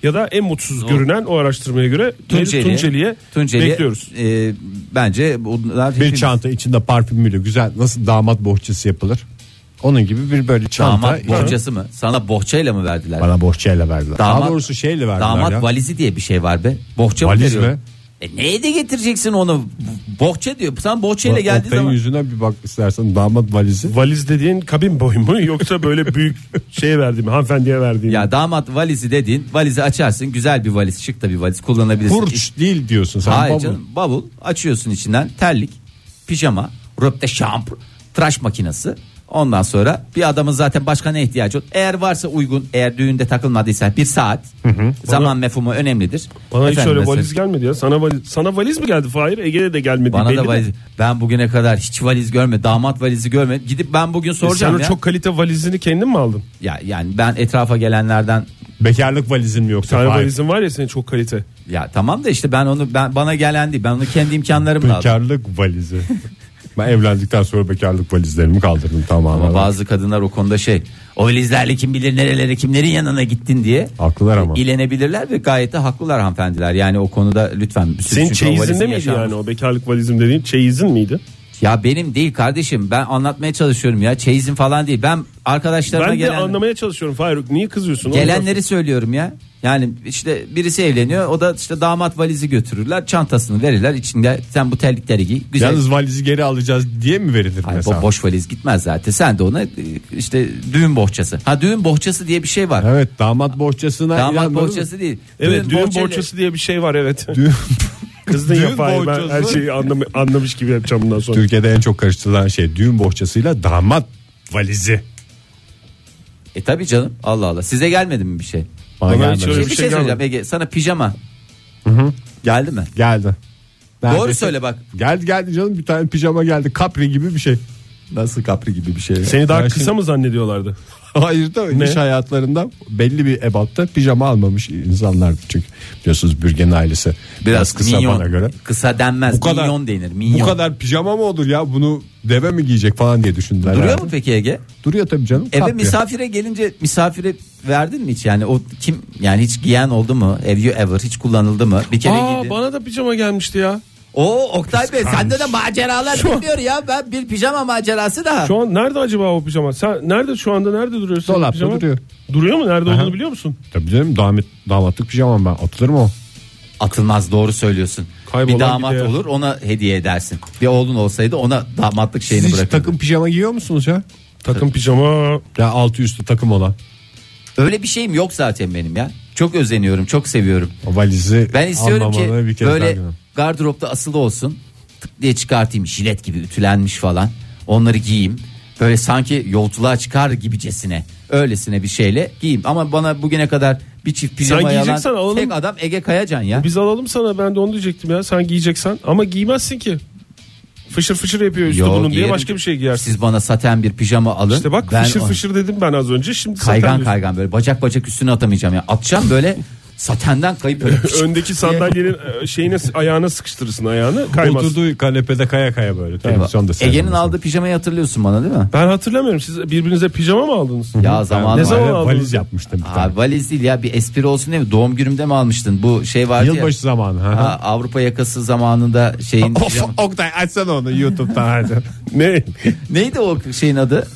Speaker 3: ya da en mutsuz görünen o araştırmaya göre Tunceli'ye, Tunceli'ye,
Speaker 4: Tunceli,
Speaker 3: bekliyoruz.
Speaker 4: e, bence bunlar
Speaker 5: Bir
Speaker 4: hepimiz-
Speaker 5: çanta içinde parfümüyle güzel nasıl damat bohçası yapılır? Onun gibi bir böyle çanta.
Speaker 4: Damat bohçası mı? Sana bohçayla mı verdiler?
Speaker 5: Bana bohçayla verdiler. Daha doğrusu şeyle verdiler
Speaker 4: Damat
Speaker 5: ya.
Speaker 4: valizi diye bir şey var be. Bohça
Speaker 5: Valiz
Speaker 4: mı veriyor?
Speaker 5: mi?
Speaker 4: E neye de getireceksin onu? Bohça diyor. Sen bohçayla
Speaker 5: Oktay'ın
Speaker 4: geldiği zaman.
Speaker 5: yüzüne bir bak istersen damat valizi.
Speaker 3: Valiz dediğin kabin boyu mu yoksa böyle büyük şeye verdiğim hanımefendiye verdiğim.
Speaker 4: Ya damat valizi dediğin valizi açarsın. Güzel bir valiz şık da bir valiz kullanabilirsin. İç-
Speaker 5: Burç değil diyorsun sen.
Speaker 4: Hayır
Speaker 5: baba.
Speaker 4: canım bavul açıyorsun içinden terlik, pijama, röpte şamp, tıraş makinesi. Ondan sonra bir adamın zaten başka ne ihtiyacı olur? Eğer varsa uygun, eğer düğünde takılmadıysa bir saat. Zaman mefhumu önemlidir.
Speaker 3: Bana hiç
Speaker 4: Efendim
Speaker 3: öyle
Speaker 4: mesela-
Speaker 3: valiz gelmedi ya. Sana valiz, sana valiz mi geldi Fahir? Ege'de de gelmedi.
Speaker 4: Bana
Speaker 3: belli
Speaker 4: da
Speaker 3: mi? E,
Speaker 4: valiz. Ben bugüne kadar hiç valiz görmedim. Damat valizi görmedim. Gidip ben bugün soracağım
Speaker 3: Sen o
Speaker 4: ya.
Speaker 3: E, çok kalite valizini kendin mi aldın?
Speaker 4: ya. Yani ben etrafa gelenlerden
Speaker 5: Bekarlık valizin mi
Speaker 3: Bir
Speaker 5: yoksa?
Speaker 3: tane
Speaker 5: Hayır.
Speaker 3: valizin var ya senin çok kalite.
Speaker 4: ya tamam da işte ben onu ben bana gelen değil. Ben onu kendi imkanlarımla aldım.
Speaker 5: Bekarlık valizi. ben evlendikten sonra bekarlık valizlerimi kaldırdım tamamen.
Speaker 4: Ama bazı kadınlar o konuda şey o valizlerle kim bilir nerelere kimlerin yanına gittin diye
Speaker 5: Haklılar ama.
Speaker 4: ilenebilirler ve gayet de haklılar hanımefendiler yani o konuda lütfen bir sürü-
Speaker 3: Senin
Speaker 4: çünkü o
Speaker 3: çeyizinde
Speaker 4: valizin
Speaker 3: miydi
Speaker 4: yaşanmış-
Speaker 3: yani o bekarlık valizim dediğin çeyizin miydi?
Speaker 4: ya benim değil kardeşim ben anlatmaya çalışıyorum ya çeyizim falan değil ben arkadaşlarıma
Speaker 3: Ben de
Speaker 4: gelen
Speaker 3: anlamaya çalışıyorum Faruk. Niye kızıyorsun? Onu
Speaker 4: gelenleri söylüyorum ya yani işte birisi evleniyor o da işte damat valizi götürürler çantasını verirler içinde sen bu terlikleri giy güzel
Speaker 5: Yalnız valizi geri alacağız diye mi verilir
Speaker 4: Hayır,
Speaker 5: mesela?
Speaker 4: bo- boş valiz gitmez zaten sen de ona e, işte düğün bohçası ha düğün bohçası diye bir şey var
Speaker 5: Evet damat bohçasına
Speaker 4: Damat
Speaker 5: inanmadın mı?
Speaker 4: bohçası değil.
Speaker 3: Evet düğün
Speaker 4: bohçayla-
Speaker 3: borçası diye bir şey var evet. Kızdın ya
Speaker 5: Düğün
Speaker 3: Fahir ben her
Speaker 5: borçası.
Speaker 3: şeyi anlam- anlamış gibi yapacağım bundan sonra.
Speaker 5: Türkiye'de en çok karıştırılan şey düğün bohçasıyla damat valizi.
Speaker 4: E tabi canım Allah Allah. Size gelmedi mi bir şey?
Speaker 5: Bana
Speaker 3: Bana
Speaker 5: gelmedi.
Speaker 3: hiç öyle
Speaker 4: Şimdi
Speaker 3: bir
Speaker 4: bir
Speaker 3: şey
Speaker 4: şey söyleyeceğim
Speaker 3: gelmedi.
Speaker 4: Ege. Sana pijama. Geldi mi?
Speaker 5: Geldi.
Speaker 4: Doğru söyle bak.
Speaker 5: Geldi geldi canım bir tane pijama geldi. Kapri gibi bir şey.
Speaker 4: Nasıl kapri gibi bir şey?
Speaker 3: Seni daha
Speaker 5: Ben
Speaker 3: kısa
Speaker 5: şimdi-
Speaker 3: mı zannediyorlardı?
Speaker 5: Hayır da
Speaker 3: Ne?
Speaker 5: iş hayatlarında belli bir ebatta pijama almamış insanlardı çünkü. Biliyorsunuz Bürgen ailesi biraz, kısa
Speaker 4: minyon.
Speaker 5: bana göre.
Speaker 4: Kısa denmez.
Speaker 5: Bu kadar-
Speaker 4: minyon denir. Minyon.
Speaker 5: Bu kadar pijama mı olur ya bunu deve mi giyecek falan diye düşündüler.
Speaker 4: Duruyor
Speaker 5: herhalde.
Speaker 4: mu peki Ege?
Speaker 5: Duruyor tabii canım.
Speaker 4: Eve
Speaker 5: kapri.
Speaker 4: misafire gelince misafire verdin mi hiç yani o kim yani hiç giyen oldu mu? Have you ever hiç kullanıldı mı? Bir kere giydin.
Speaker 3: bana da pijama gelmişti ya.
Speaker 4: Oo Oktay Bey sende de maceralar çıkıyor ya. Ben bir pijama macerası daha.
Speaker 3: Şu an nerede acaba o pijama? Sen nerede şu anda nerede duruyor senin
Speaker 5: Dolapta
Speaker 3: pijama?
Speaker 5: duruyor.
Speaker 3: Duruyor mu? Nerede olduğunu biliyor musun?
Speaker 5: Tabii canım damat, damatlık pijamam ben atılır mı o?
Speaker 4: Atılmaz doğru söylüyorsun.
Speaker 3: Kaybolan
Speaker 4: bir damat
Speaker 3: gider.
Speaker 4: olur ona hediye edersin. Bir oğlun olsaydı ona damatlık şeyini
Speaker 5: Siz hiç
Speaker 4: bırakırdın.
Speaker 5: takım pijama giyiyor musunuz ya?
Speaker 3: Takım pijama.
Speaker 5: Ya altı üstü takım olan.
Speaker 4: Öyle bir şeyim yok zaten benim ya. Çok özeniyorum, çok seviyorum.
Speaker 5: O valizi
Speaker 4: Ben istiyorum ki
Speaker 5: anlamanı bir kere daha
Speaker 4: böyle
Speaker 5: görüyorum.
Speaker 4: gardıropta asılı olsun. Tık diye çıkartayım jilet gibi ütülenmiş falan. Onları giyeyim. Böyle sanki yolculuğa çıkar gibicesine. Öylesine bir şeyle giyeyim. Ama bana bugüne kadar bir çift pijama yalan
Speaker 3: giyeceksen alalım.
Speaker 4: tek adam Ege Kayacan ya.
Speaker 3: Biz alalım sana ben de onu diyecektim ya. Sen giyeceksen ama giymezsin ki. Fışır fışır yapıyor üstü
Speaker 4: Yo,
Speaker 3: bunun diye
Speaker 4: giyerim.
Speaker 3: başka bir şey giyersin.
Speaker 4: Siz bana saten bir pijama alın.
Speaker 3: İşte bak
Speaker 4: Ben
Speaker 3: fışır
Speaker 4: onu-
Speaker 3: fışır dedim ben az önce. Şimdi zaten
Speaker 4: Kaygan
Speaker 3: diyorsun.
Speaker 4: kaygan böyle bacak bacak üstüne atamayacağım ya. Atacağım böyle satenden kayıp böyle. şey-
Speaker 3: Öndeki sandalyenin e, şeyine ayağına sıkıştırırsın ayağını kaymaz.
Speaker 5: Oturduğu kanepede kaya kaya böyle. televizyonda
Speaker 4: Ege'nin
Speaker 5: seyrediyorsun.
Speaker 4: aldığı pijamayı hatırlıyorsun bana değil mi?
Speaker 3: Ben hatırlamıyorum siz birbirinize pijama mı aldınız?
Speaker 4: Ya zamanı
Speaker 3: Ne
Speaker 4: var.
Speaker 3: zaman aldınız?
Speaker 5: valiz yapmıştım bir tane.
Speaker 4: Abi valiz değil ya bir espri olsun değil mi? Doğum günümde mi almıştın? Bu şey vardı ya.
Speaker 5: Yılbaşı zamanı. Ha.
Speaker 4: Ha, Avrupa yakası zamanında şeyin
Speaker 5: Of Oktay açsana onu YouTube'dan hadi.
Speaker 3: Ne?
Speaker 4: neydi o şeyin adı?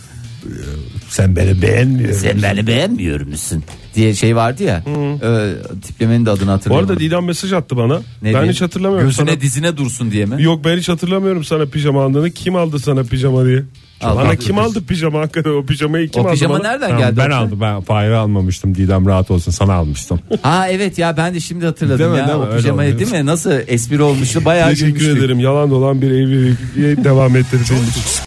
Speaker 5: Sen beni beğenmiyorsun.
Speaker 4: Sen beni beğenmiyor musun? diye şey vardı ya. Ee, tiplemenin de adını
Speaker 3: Bu
Speaker 4: hatırlamıyorum.
Speaker 3: arada Didem mesaj attı bana.
Speaker 4: Ne
Speaker 3: ben
Speaker 4: diye?
Speaker 3: hiç hatırlamıyorum.
Speaker 4: Gözüne
Speaker 3: sana.
Speaker 4: dizine dursun diye mi?
Speaker 3: Yok ben hiç hatırlamıyorum sana pijama aldığını. Kim aldı sana pijama diye.
Speaker 4: Al,
Speaker 3: Bana
Speaker 4: bak.
Speaker 3: kim aldı pijama hakikaten o pijamayı kim
Speaker 4: O
Speaker 3: aldı
Speaker 4: pijama
Speaker 3: bana?
Speaker 4: nereden
Speaker 5: Tamam,
Speaker 4: geldi?
Speaker 5: ben
Speaker 4: o?
Speaker 5: aldım ben Fahir'e almamıştım Didem rahat olsun sana almıştım.
Speaker 4: Ha evet ya ben de şimdi hatırladım
Speaker 5: Değil mi,
Speaker 4: ya.
Speaker 5: değil mi?
Speaker 4: o
Speaker 5: Öyle
Speaker 4: pijamayı
Speaker 5: oluyor.
Speaker 4: değil mi? Nasıl espri olmuştu bayağı
Speaker 3: Teşekkür
Speaker 4: gülmüştük.
Speaker 3: ederim. Yalan dolan bir evliliğe devam ettirdiniz.